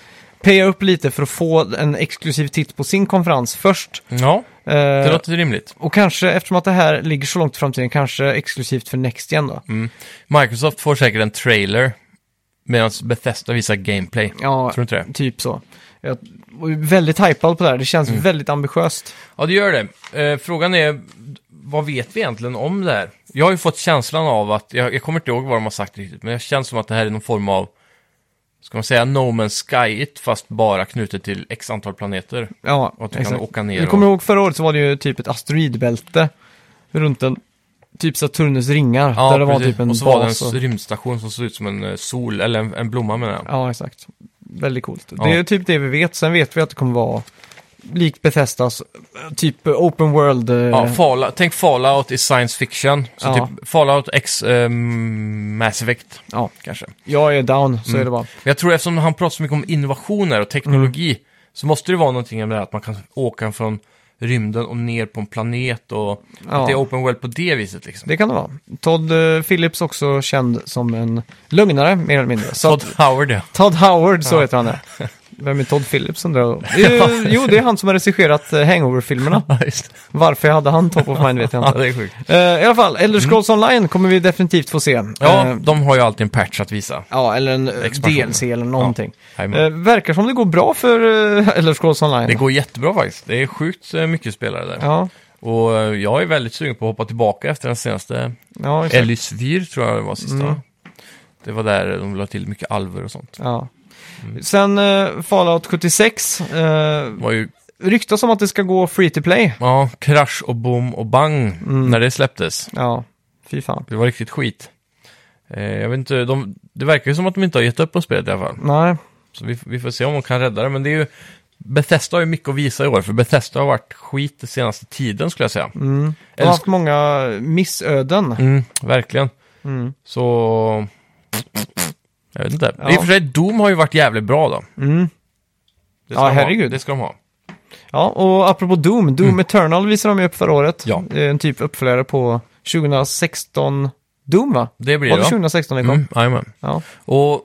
A: paya upp lite för att få en exklusiv titt på sin konferens först.
B: Ja,
A: Eh,
B: det låter rimligt.
A: Och kanske, eftersom att det här ligger så långt i framtiden, kanske exklusivt för Next Gen då.
B: Mm. Microsoft får säkert en trailer, medan Bethesda visar gameplay.
A: Ja,
B: Tror du inte det?
A: typ så. Jag var ju väldigt hypad på det här, det
B: Mm.
A: känns väldigt ambitiöst.
B: Ja, det gör det. Eh, frågan är, vad vet vi egentligen om det här? Jag har ju fått känslan av att, jag, jag kommer inte ihåg vad de har sagt riktigt, men jag känns som att det här är någon form av, ska man säga No Man's sky fast bara knutet till x antal planeter.
A: Ja,
B: Och att du kan åka ner
A: Jag
B: och-
A: kommer ihåg förra året så var det ju typ ett asteroidbälte runt en, typ Saturnus ringar. där det var
B: precis.
A: typ en
B: och så var det en
A: bas. och-
B: s- rymdstation som såg ut som en eh, sol, eller en, en blomma menar jag.
A: Ja, exakt. Väldigt coolt.
B: Ja.
A: Det är typ det vi vet. Sen vet vi att det kommer vara likt Bethesdas, eh, typ eh, open world. eh,
B: Ja, Fallout, tänk Fallout i science fiction. Så
A: Ja.
B: typ Fallout X ehm, Mass Effect
A: ja,
B: kanske.
A: jag är down,
B: Mm.
A: så är det bara.
B: Men jag tror eftersom
A: Mm.
B: han pratar så mycket om innovationer och teknologi så måste det vara någonting med det här att man kan åka från rymden och ner på en planet och
A: Ja.
B: att det är open world på det viset liksom.
A: Det kan det vara. Todd eh, Phillips också känd som en lögnare, mer eller mindre. Så
B: Todd
A: <laughs>
B: Howard ja.
A: Todd Howard, så heter han det.
B: <laughs>
A: Vem är Todd Phillips undrar jag då? Eh, Jo, det är han som har regisserat eh,
B: <laughs>
A: Hangover-filmerna.
B: Ja, just det.
A: Varför jag hade han top of mind vet jag
B: Ja,
A: inte.
B: det är sjukt.
A: Eh, I alla fall, Elder Scrolls Online kommer vi definitivt få se.
B: Mm. Ja,
A: Eh,
B: de har ju alltid en patch att visa.
A: ja eller en eh,
B: Expansion.
A: DLC eller någonting.
B: Jajamän.
A: Eh, verkar som det går bra för eh, <laughs> Elder Scrolls Online.
B: Det går jättebra faktiskt. Det är sjukt eh, mycket spelare där.
A: Ja,
B: Och eh, jag är väldigt sugen på att hoppa tillbaka efter den senaste
A: ja exakt.
B: Elysvir tror jag det var sista.
A: Mm.
B: Det var där de la till mycket alver och sånt.
A: Ja.
B: Mm.
A: Sen eh, Fallout 76. Eh,
B: Det var ju
A: ryktas om att det ska gå free to play.
B: ja, krasch och bom och bang
A: Mm.
B: när det släpptes.
A: Ja, fy fan.
B: Det var riktigt skit. Eh, jag vet inte, de, det verkar ju som att de inte har gett upp på spelet i alla fall.
A: Nej,
B: Så vi, vi får se om de kan rädda det. Men det är ju, Bethesda har ju mycket att visa i år, för Bethesda har varit skit den senaste tiden skulle jag säga.
A: Mm. de har
B: Eller,
A: haft många missöden.
B: mm, verkligen.
A: Mm.
B: Så... Jag vet inte. I och för sig, Doom har ju varit jävligt bra då. Det ska
A: Mm. Ja,
B: de ha.
A: herregud.
B: Det ska de ha.
A: Ja, och apropå Doom, Doom Eternal visade de ju upp förra året.
B: Mm. Ja.
A: Det är En typ uppföljare på 2016 Doom va?
B: Det blir
A: Var det
B: det, va?
A: 2016 det kom?
B: Mm, jajamän.
A: Ja.
B: Och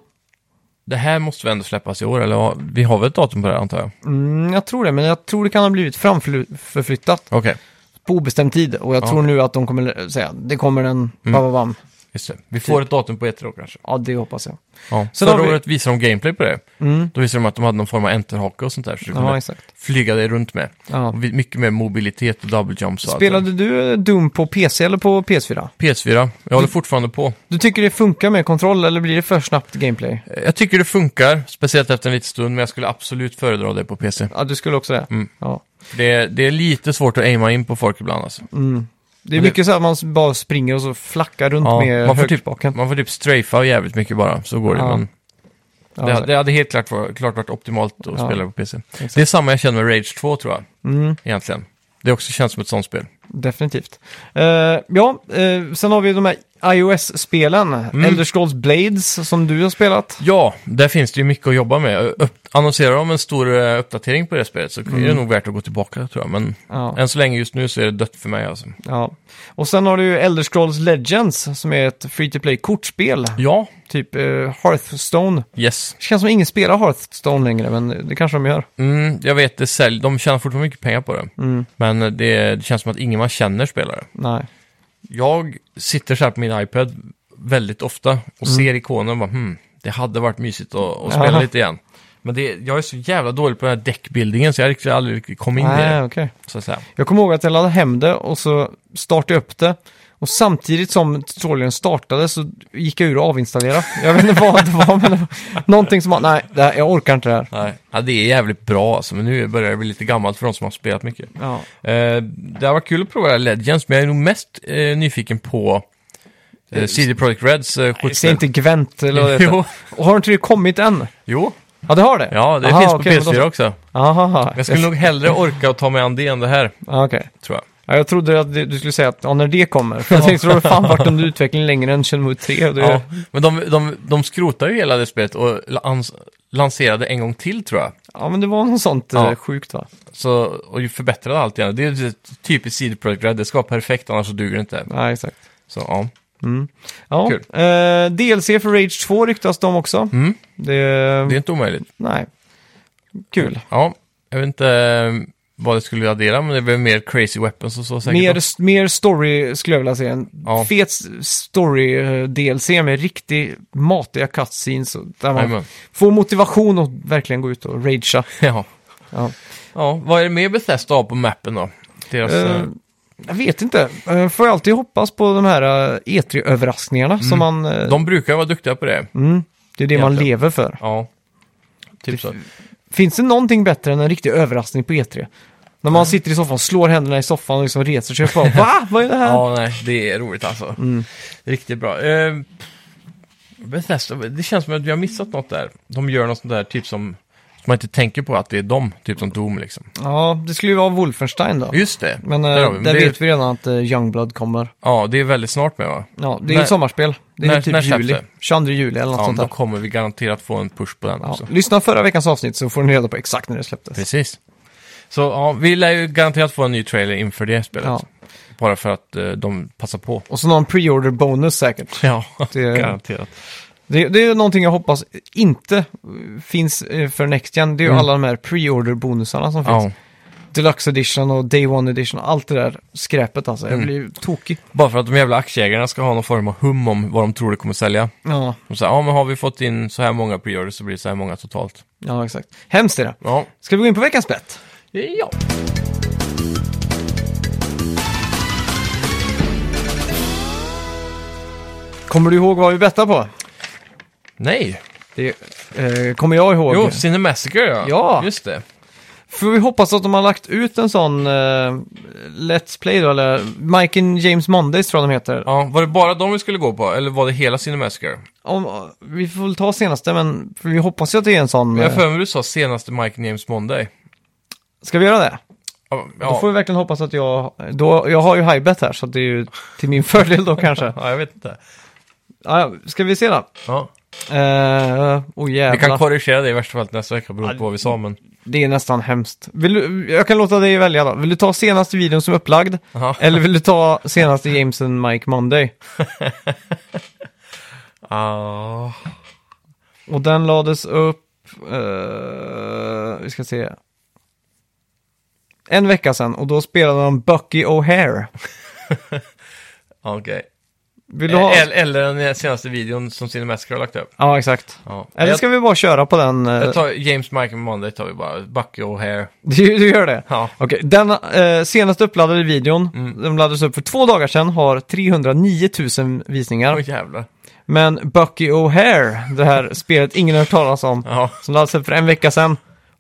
B: det här måste väl ändå släppas i år, eller ja, vi har väl ett datum på det här, antar jag?
A: Mm, jag tror det, men jag tror det kan ha blivit framförflyttat
B: Okej,
A: på obestämd tid. Och jag
B: Ja. Mm.
A: tror nu att de kommer säga, det kommer en bababam.
B: just det. Vi får ett datum på E3 då, kanske.
A: Ja, det hoppas jag.
B: Ja.
A: Sen
B: Förra
A: har vi-
B: året visade de gameplay på det.
A: Mm.
B: Då visade de att de hade någon form av enterhake och sånt där, så du kunde
A: Ja, exakt.
B: flyga dig runt med.
A: Ja.
B: Och vi- mycket mer mobilitet och double jumps och allt det där.
A: Spelade du Doom på PC eller på PS4?
B: PS4, jag
A: Mm.
B: håller fortfarande på.
A: Du tycker det funkar med kontroll eller blir det för snabbt gameplay?
B: Eh, Jag tycker det funkar, speciellt efter en liten stund, men jag skulle absolut föredra det på PC.
A: Ja, du skulle också det.
B: Mm.
A: Ja.
B: Det är, det är lite svårt att aima in på folk ibland alltså.
A: Mm. Det är mycket så att man bara springer och så flackar runt
B: Ja,
A: med
B: man, får typ,
A: högspaken.
B: man får typ strafa jävligt mycket bara, så går det.
A: Ja.
B: Men
A: Ja,
B: det,
A: så-
B: det hade helt klart, var- klart varit optimalt att spela på PC.
A: Exakt.
B: Det är samma jag känner med Rage 2 tror jag,
A: Mm.
B: egentligen. Det också känns som ett sånt spel.
A: Definitivt. Eh, ja, eh, sen har vi de här iOS-spelen.
B: Mm.
A: Elder Scrolls Blades som du har spelat.
B: Ja, där finns det ju mycket att jobba med. Upp, annonserar de en stor eh, uppdatering på det spelet så är det nog värt att gå tillbaka tror jag. Men
A: Mm. Ja.
B: än så länge just nu så är det dött för mig alltså.
A: ja. Och sen har du ju Elder Scrolls Legends som är ett free-to-play-kortspel.
B: Ja,
A: Typ eh, Hearthstone.
B: yes.
A: Det känns som ingen spelar Hearthstone längre, men det kanske de gör.
B: Mm, jag vet, det sälj, de tjänar fortfarande mycket pengar på det.
A: Mm.
B: Men eh, det, det känns som att ingen man känner spelare.
A: Nej.
B: Jag sitter så här på min iPad väldigt ofta och ser ikonen och bara hmm, det hade varit mysigt att, att spela
A: Mm. Ja.
B: lite igen. Men det, jag är så jävla dålig på den här deckbuildingen så jag har riktigt aldrig riktigt kom in i
A: Nej,
B: det.
A: okej.
B: Så att säga.
A: Jag kommer ihåg att jag laddade hem det och så startade jag upp det. Och samtidigt som tutorialen startade så gick jag ur och avinstallera. Jag vet inte vad det var, men det var någonting som var, nej, det här, jag orkar inte det här.
B: Nej. Ja, det är jävligt bra alltså, men nu börjar det bli lite gammalt för de som har spelat mycket.
A: Ja.
B: Eh, det har varit kul att prova det här Legends, men jag är nog mest eh, nyfiken på eh, CD Projekt Reds eh,
A: Säg
B: skjutspel.
A: inte Gwent eller vad det heter.
B: Jo.
A: Och har inte det kommit än?
B: Jo,
A: Ja, det har det?
B: ja det
A: Aha,
B: finns på
A: okej, men då-
B: PS4 också.
A: Aha,
B: Jag skulle nog hellre orka att ta mig an det än det här,
A: Ja, okej.
B: tror jag.
A: Ja, jag trodde att du du skulle säga att ja, när det kommer. För jag tänkte att det har fan varit
B: <laughs>
A: en utveckling längre än Shenmue 3. Och det...
B: Ja, Eh, men de, de, de skrotar ju hela det spelet och lans, lanserade en gång till tror jag.
A: ja, men det var något sånt eh,
B: Ja.
A: sjukt va?
B: Så, och ju förbättrade allt igen. Det är ju ett typiskt CD Projekt Red, det ska vara perfekt annars så duger det inte.
A: Ja, exakt.
B: Så ja,
A: Ja.
B: Kul.
A: Eh, DLC för Rage 2 ryktas de också.
B: Mm.
A: Det...
B: det är inte omöjligt.
A: Nej. Kul.
B: Ja, jag vet inte eh, vad det skulle addera, men det blir mer crazy weapons och så säkert.
A: Mer,
B: då.
A: s- mer story skulle jag vilja se. En
B: Ja.
A: fet s- story eh, DLC med riktigt matiga cutscenes. och Där man
B: Jajamän. <laughs>
A: får motivation att verkligen gå ut och ragea.
B: Ja.
A: Ja.
B: ja, vad är det mer Bethesda har på mappen då? Deras,
A: Eh,
B: eh,
A: jag vet inte. Eh, får jag alltid hoppas på de här eh, E3-överraskningarna som man... eh,
B: Mm. de brukar vara duktiga på det.
A: mm, det är det man
B: Egentligen.
A: lever för.
B: Ja, typ så.
A: Finns det någonting bättre än en riktig överraskning på E3? När
B: Mm.
A: man sitter i soffan, slår händerna i soffan och liksom reser sig upp och bara, Va? Vad är det här?
B: Ja, nej, det är roligt alltså.
A: Mm.
B: Riktigt bra. Eh, Bethesda, det känns som att vi har missat något där. De gör något sånt där, typ som, som man inte tänker på att det är de, typ som Doom liksom.
A: Ja, det skulle ju vara Wolfenstein då.
B: Just det,
A: Men eh,
B: där har
A: där,
B: vi. Men det,
A: vet vi redan att eh, Youngblood kommer.
B: Ja, det är väldigt snart med va?
A: Ja, det är
B: När-
A: ju ett sommarspel. Det är
B: när-
A: ju typ
B: när släpps
A: juli.
B: det?
A: 22 juli eller något
B: Ja,
A: sånt
B: då
A: där.
B: kommer vi garanterat få en push på den
A: Ja.
B: också.
A: Lyssna förra veckans avsnitt så får ni reda på exakt när det släpptes.
B: Precis. Så ja, vi lär ju garanterat få en ny trailer inför det spelet.
A: Ja.
B: Bara för att eh, de passar
A: <laughs>
B: på.
A: Och så någon pre-order bonus säkert.
B: <laughs> Ja,
A: Det-
B: garanterat.
A: Det, det är någonting jag hoppas inte eh, finns eh, för Next Gen. Det är ju
B: Mm.
A: alla de här pre-order bonusarna som finns.
B: Ja.
A: Deluxe edition och Day One edition och allt det där skräpet alltså. Jag
B: Mm.
A: blir ju tokig.
B: Bara för att de jävla aktieägarna ska ha någon form av hum om vad de tror det kommer sälja.
A: Ja,
B: De säger, ja men har vi fått in så här många pre så blir det så här många totalt.
A: ja exakt. Hemskt är det.
B: Ja.
A: Ska vi gå in på veckans bett?
B: ja.
A: Kommer du ihåg vad vi bettade på?
B: Nej.
A: Det eh, kommer jag ihåg.
B: Jo, Cinemassacre ja.
A: Ja.
B: Just det.
A: För vi hoppas att de har lagt ut en sån eh, Let's Play då, eller Mike and James Mondays tror jag de heter.
B: Ja, var det bara de vi skulle gå på? Eller var det hela Cinemassacre?
A: Om, vi får väl ta senaste, men för vi hoppas ju att det är en sån.
B: Jag har
A: Eh,
B: för mig du sa senaste Mike James Monday.
A: ska vi göra det?
B: Ja,
A: Då
B: ja.
A: får vi verkligen hoppas att jag, då, jag har ju highbet här så det är ju till min <laughs> fördel då kanske.
B: ja jag vet inte.
A: Ja, ja, ska vi se då?
B: Ja.
A: Eh, oh
B: Vi
A: jävlar,
B: kan korrigera det i värsta fall nästa vecka beroende på vad vi sa, men...
A: det är nästan hemskt. Vill du, jag kan låta dig välja då. Vill du ta senaste videon som är upplagd?
B: Aha.
A: Eller vill du ta senaste James and Mike Monday?
B: Ah.
A: Och den lades upp, eh, vi ska se. En vecka sedan och då spelade de Bucky O'Hare.
B: Okej.
A: Vill du ha?
B: Eller, eller den senaste videon som Cinemassacre har lagt upp.
A: Ja, exakt.
B: Ja.
A: Eller ska vi bara köra på den? eh,
B: jag tar James Michael Monday tar vi bara. Bucky O'Hare.
A: <laughs> Du, du gör det?
B: Ja.
A: Okej, den eh, senast uppladdade videon,
B: Mm.
A: den laddades upp för två dagar sedan, har 309 000 visningar.
B: Åh jävlar.
A: Men Bucky O'Hare, det här spelet ingen har hört talas om,
B: Ja.
A: som laddades upp för en vecka sedan,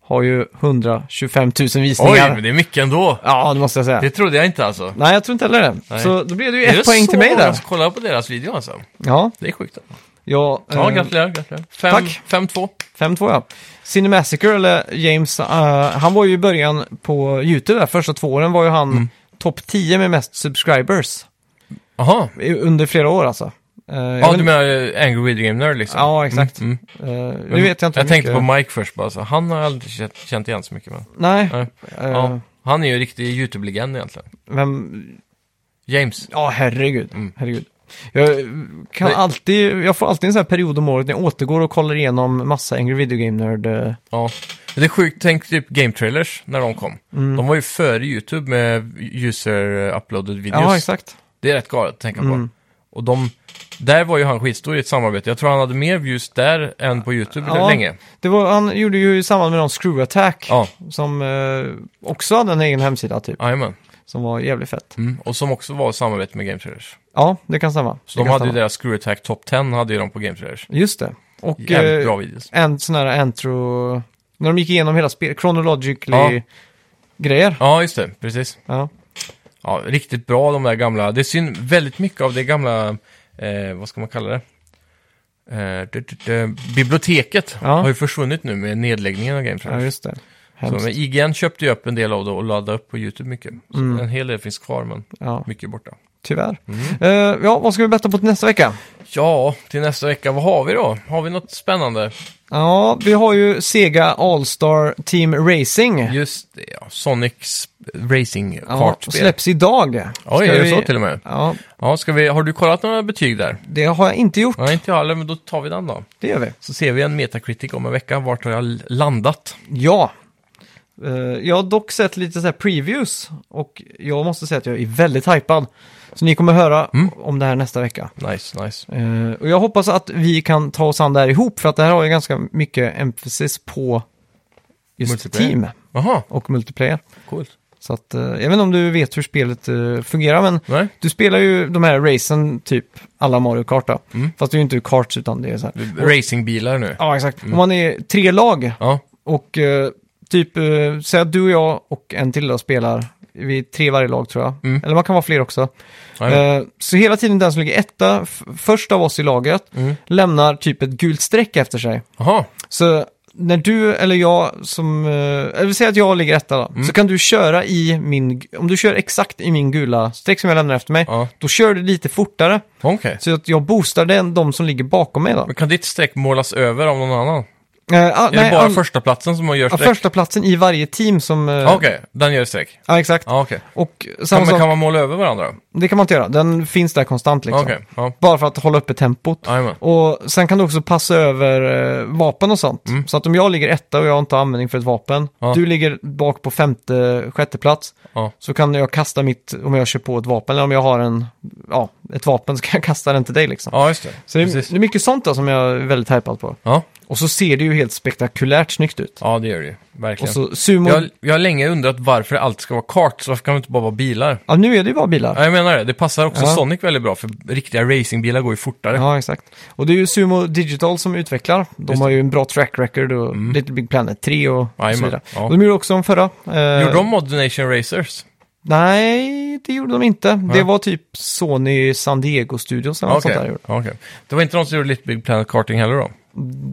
A: har ju 125 000
B: Oj,
A: visningar.
B: men det är mycket ändå.
A: Ja, det måste jag säga.
B: Det trodde jag inte alltså.
A: Nej, jag tror inte heller det.
B: Nej.
A: Så då blev det ju
B: är det
A: ett poäng
B: så
A: till mig
B: många
A: där.
B: som kollar på deras video alltså?
A: Ja,
B: Det är sjukt.
A: jag...
B: Ja,
A: eh,
B: gratulerar, gratulerar. Fem,
A: tack.
B: Fem, två.
A: 5-2 ja. Cinemassacre, eller James, eh, han var ju i början på YouTube där, första två åren var ju han
B: Mm.
A: topp 10 med mest subscribers.
B: Jaha.
A: I- Under flera år alltså. Eh, jag
B: Ja,
A: vet-
B: du menar eh, Angry Video Game Nerd liksom?
A: Ja, exakt.
B: Mm.
A: Eh, nu vet jag inte
B: Jag
A: hur
B: tänkte på
A: mycket-
B: Mike först bara, så han har jag aldrig känt- känt igen så mycket. Men...
A: Nej.
B: Nej.
A: Eh,
B: Ja. Han är ju en riktig YouTube-legend egentligen.
A: Vem...
B: James.
A: Ja, herregud.
B: Mm.
A: herregud. Jag, kan
B: Nej.
A: alltid, jag får alltid en sån här period om året när jag återgår och kollar igenom massa Angry Video Game Nerd. eh.
B: Ja. Det är sjukt, tänk typ Game Trailers när de kom.
A: Mm.
B: De var ju före YouTube med user-uploaded videos.
A: Ja, exakt.
B: Det är rätt galet att tänka
A: Mm.
B: på. Och de, där var ju han skitstor i ett samarbete. Jag tror han hade mer views där än på YouTube
A: Ja.
B: länge.
A: Det var, han gjorde ju i samband med någon Screw Attack
B: Ja,
A: som eh, också hade en egen hemsida typ,
B: jajamän.
A: som var jävligt fett.
B: Mm. Och som också var i samarbete med Game Trailers.
A: Ja, det kan stämma.
B: Så
A: det
B: de
A: kan
B: hade ju
A: stämma.
B: deras Screw Attack Top 10 hade ju de på Game Trailers.
A: Just det. Och
B: Jävligt
A: eh,
B: bra videos.
A: en sån här intro... När de gick igenom hela spelet, chronologically
B: Ja.
A: grejer.
B: Ja, just det. Precis.
A: Ja.
B: Ja, riktigt bra de där gamla. Det är synd, väldigt mycket av det gamla, eh, vad ska man kalla det? Eh, d- d- d- biblioteket
A: Ja.
B: har ju försvunnit nu med nedläggningen av Game
A: Ja,
B: Trailers.
A: just det.
B: så,
A: Hemskt.
B: men IGN köpte ju upp en del av det och laddade upp på YouTube mycket. Så
A: Mm.
B: En hel del finns kvar, men
A: Ja,
B: mycket är borta.
A: tyvärr.
B: Mm.
A: Eh, ja, vad ska vi betta på till nästa vecka?
B: Ja, till nästa vecka, vad har vi då? Har vi något spännande?
A: Ja, vi har ju Sega All-Star Team Racing.
B: Just det, ja. Sonics Racing
A: Ja,
B: kartspel.
A: släpps idag. Ska
B: Oj, är det
A: vi-
B: så till och med?
A: Ja,
B: Ja, ska vi, har du kollat några betyg där?
A: det har jag inte gjort.
B: Nej, inte jag heller, men då tar vi den då.
A: Det gör vi.
B: Så ser vi en Metacritic om en vecka. Vart har jag l- landat?
A: Ja. Eh, jag har dock sett lite så här previews och jag måste säga att jag är väldigt hypad. Så ni kommer höra
B: Mm.
A: om det här nästa vecka.
B: Nice, nice.
A: Eh, och jag hoppas att vi kan ta oss an det här ihop för att det här har ju ganska mycket emphasis på just
B: Multiplayer.
A: team
B: Jaha,
A: och multiplayer.
B: coolt.
A: Så att, eh, jag vet inte om du vet hur spelet eh, fungerar, men
B: Nej,
A: du spelar ju de här racen typ alla Mario Kart då.
B: Mm.
A: Fast det är ju inte karts utan det är så här.
B: racingbilar nu.
A: Ja, exakt. Om man är tre lag
B: Ja,
A: och eh, typ, eh, säg att du och jag och en till då spelar, vi är tre i varje lag tror jag.
B: Mm.
A: Eller man kan vara fler också.
B: ja.
A: Eh, så hela tiden den som ligger etta, f- först av oss i laget,
B: Mm.
A: lämnar typ ett gult streck efter sig.
B: Jaha,
A: Så när du eller jag som, eh, eller vi säger att jag ligger etta
B: Mm.
A: då, så kan du köra i min, gu- om du kör exakt i min gula streck som jag lämnar efter mig,
B: ja.
A: då kör du lite fortare.
B: Okej.
A: Så att jag boostar den, de som ligger bakom mig då.
B: Men kan ditt streck målas över av någon annan?
A: Eh, ah,
B: är
A: nej,
B: det bara
A: all-
B: första platsen som gör
A: ja,
B: streck?
A: första platsen i varje team som... eh,
B: Ja, Okej, den gör streck.
A: Ja, exakt.
B: Ja, okej.
A: Och samma
B: Kan, man-
A: sak, Liksom.
B: kan man måla över varandra?
A: det kan man inte göra. Den finns där konstant liksom.
B: Okej, ja.
A: Bara för att hålla uppe tempot.
B: Jajamän.
A: Och sen kan du också passa över eh, vapen och sånt. Så att om jag ligger etta och jag inte har användning för ett vapen,
B: Mm. Ja.
A: du ligger bak på femte, sjätte plats,
B: Ja.
A: så kan jag kasta mitt, om jag kör på ett vapen, eller om jag har en, ja, ett vapen så kan jag kasta den till dig liksom.
B: ja, just det.
A: Så det är,
B: Precis.
A: det är mycket sånt då som jag är väldigt hypad på.
B: Ja.
A: Och så ser det ju helt spektakulärt snyggt ut.
B: ja, det gör det ju.
A: Och
B: Verkligen.
A: så sumo...
B: Jag, jag har länge undrat varför det alltid ska vara karts, varför kan det inte bara vara bilar?
A: Ja, nu är det ju bara bilar.
B: Ja, jag menar det, det passar också
A: Ja.
B: Sonic väldigt bra, för riktiga racingbilar går ju fortare.
A: Ja, exakt. Och det är ju Sumo Digital som utvecklar. De
B: Just Mm.
A: har ju en bra track record och Little Big Planet 3 och, och så
B: Jajamän,
A: vidare.
B: ja.
A: Och de gjorde också de förra. eh,
B: Gjorde de Mod Nation Racers?
A: Nej, det gjorde de inte. Det
B: Nej.
A: var typ Sony San Diego Studios eller något sånt där.
B: Okej.
A: gjorde.
B: Ja, okej. Det var inte någon som gjorde Little Big Planet Karting heller då?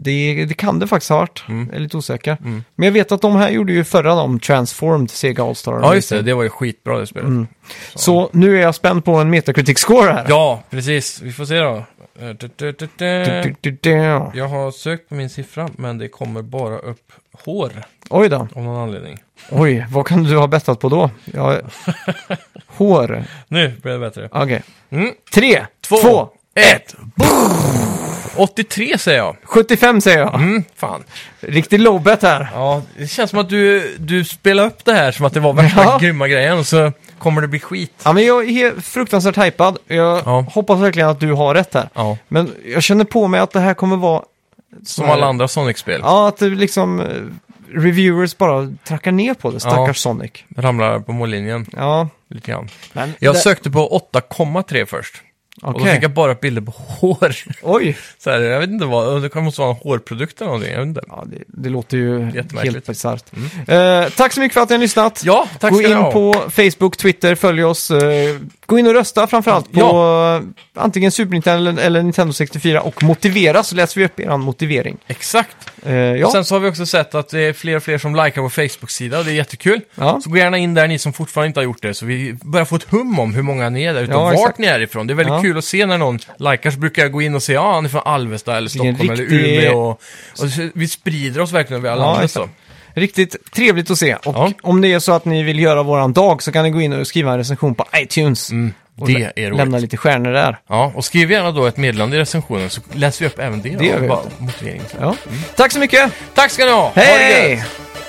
A: Det, det kan det faktiskt ha varit.
B: Mm.
A: Jag är lite osäker. Men jag vet att de här gjorde ju förra de Transformed Sega All-Star.
B: Ja, just det. Det var ju skitbra det spelet.
A: Mm. Så nu är jag spänd på en Metacritic-score här.
B: Ja, precis. Vi får se då. Eh, du, du, du,
A: Du,
B: du.
A: du, du, du.
B: Jag har sökt på min siffra, men det kommer bara upp hår
A: Oj då.
B: av någon anledning.
A: Oj, vad kan du ha bettat på då?
B: <laughs>
A: Ja. Hår.
B: Nu blir det bättre.
A: Okej.
B: Mm.
A: Tre, två,
B: Två, ett. 83 säger jag.
A: 75 säger jag.
B: Mm, fan.
A: Riktig low bet här.
B: Ja, det känns som att du, du spelar upp det här som att det var värsta
A: <laughs> Ja.
B: grymma grejen och så kommer det bli skit.
A: Ja, men jag är he- fruktansvärt hypad. Jag
B: Ja.
A: hoppas verkligen att du har rätt här.
B: Ja,
A: Men jag känner på mig att det här kommer vara...
B: som alla andra Sonic-spel.
A: Ja, att det liksom eh, reviewers bara trackar ner på det, stackars
B: Ja.
A: Sonic.
B: Ramlar på mållinjen
A: Ja,
B: lite grann.
A: men...
B: Jag
A: det-
B: sökte på 8,3 först. Och då
A: Okej.
B: fick jag bara upp bilder på <laughs> hår.
A: Oj!
B: Så här, jag vet inte vad, det kan- måste vara en hårprodukt eller någonting. Jag vet inte.
A: Ja, det, det låter ju helt
B: Jättemärkligt. Mm.
A: bisarrt. Eh, tack så mycket för att ni har lyssnat.
B: Ja, tack
A: Gå
B: ska ni
A: in
B: ha.
A: på Facebook, Twitter, följ oss. eh, Gå in och rösta framförallt på eh, antingen Super Nintendo eller- eller Nintendo 64 och motivera så läser vi upp er motivering.
B: Exakt.
A: Eh, ja.
B: Sen så har vi också sett att det är fler och fler som likar vår Facebook-sida och det är jättekul.
A: Ja.
B: Så gå gärna in där ni som fortfarande inte har gjort det så vi börjar få ett hum om hur många ni är där ute
A: Ja,
B: och vart
A: exakt.
B: ni är ifrån. Det är väldigt
A: Ja.
B: kul att se när någon likar så brukar jag gå in och se, ja ah, han är från Alvesta eller
A: Det är en
B: Stockholm eller
A: riktig-
B: Umeå. Och, och så- vi sprider oss verkligen över hela
A: Ja,
B: landet
A: exakt.
B: så.
A: Riktigt trevligt att se. Och
B: Ja.
A: om det är så att ni vill göra våran dag så kan ni gå in och skriva en recension på iTunes. och
B: Mm, det
A: lä-
B: är roligt.
A: lämna lite stjärnor där.
B: Ja, och skriv gärna då ett meddelande i recensionen så läser vi upp även det.
A: Det gör
B: och
A: vi.
B: bara motiveringen.
A: Ja. Tack så mycket!
B: Tack ska ni ha! Ha Mm. det
A: Hej!
B: gött!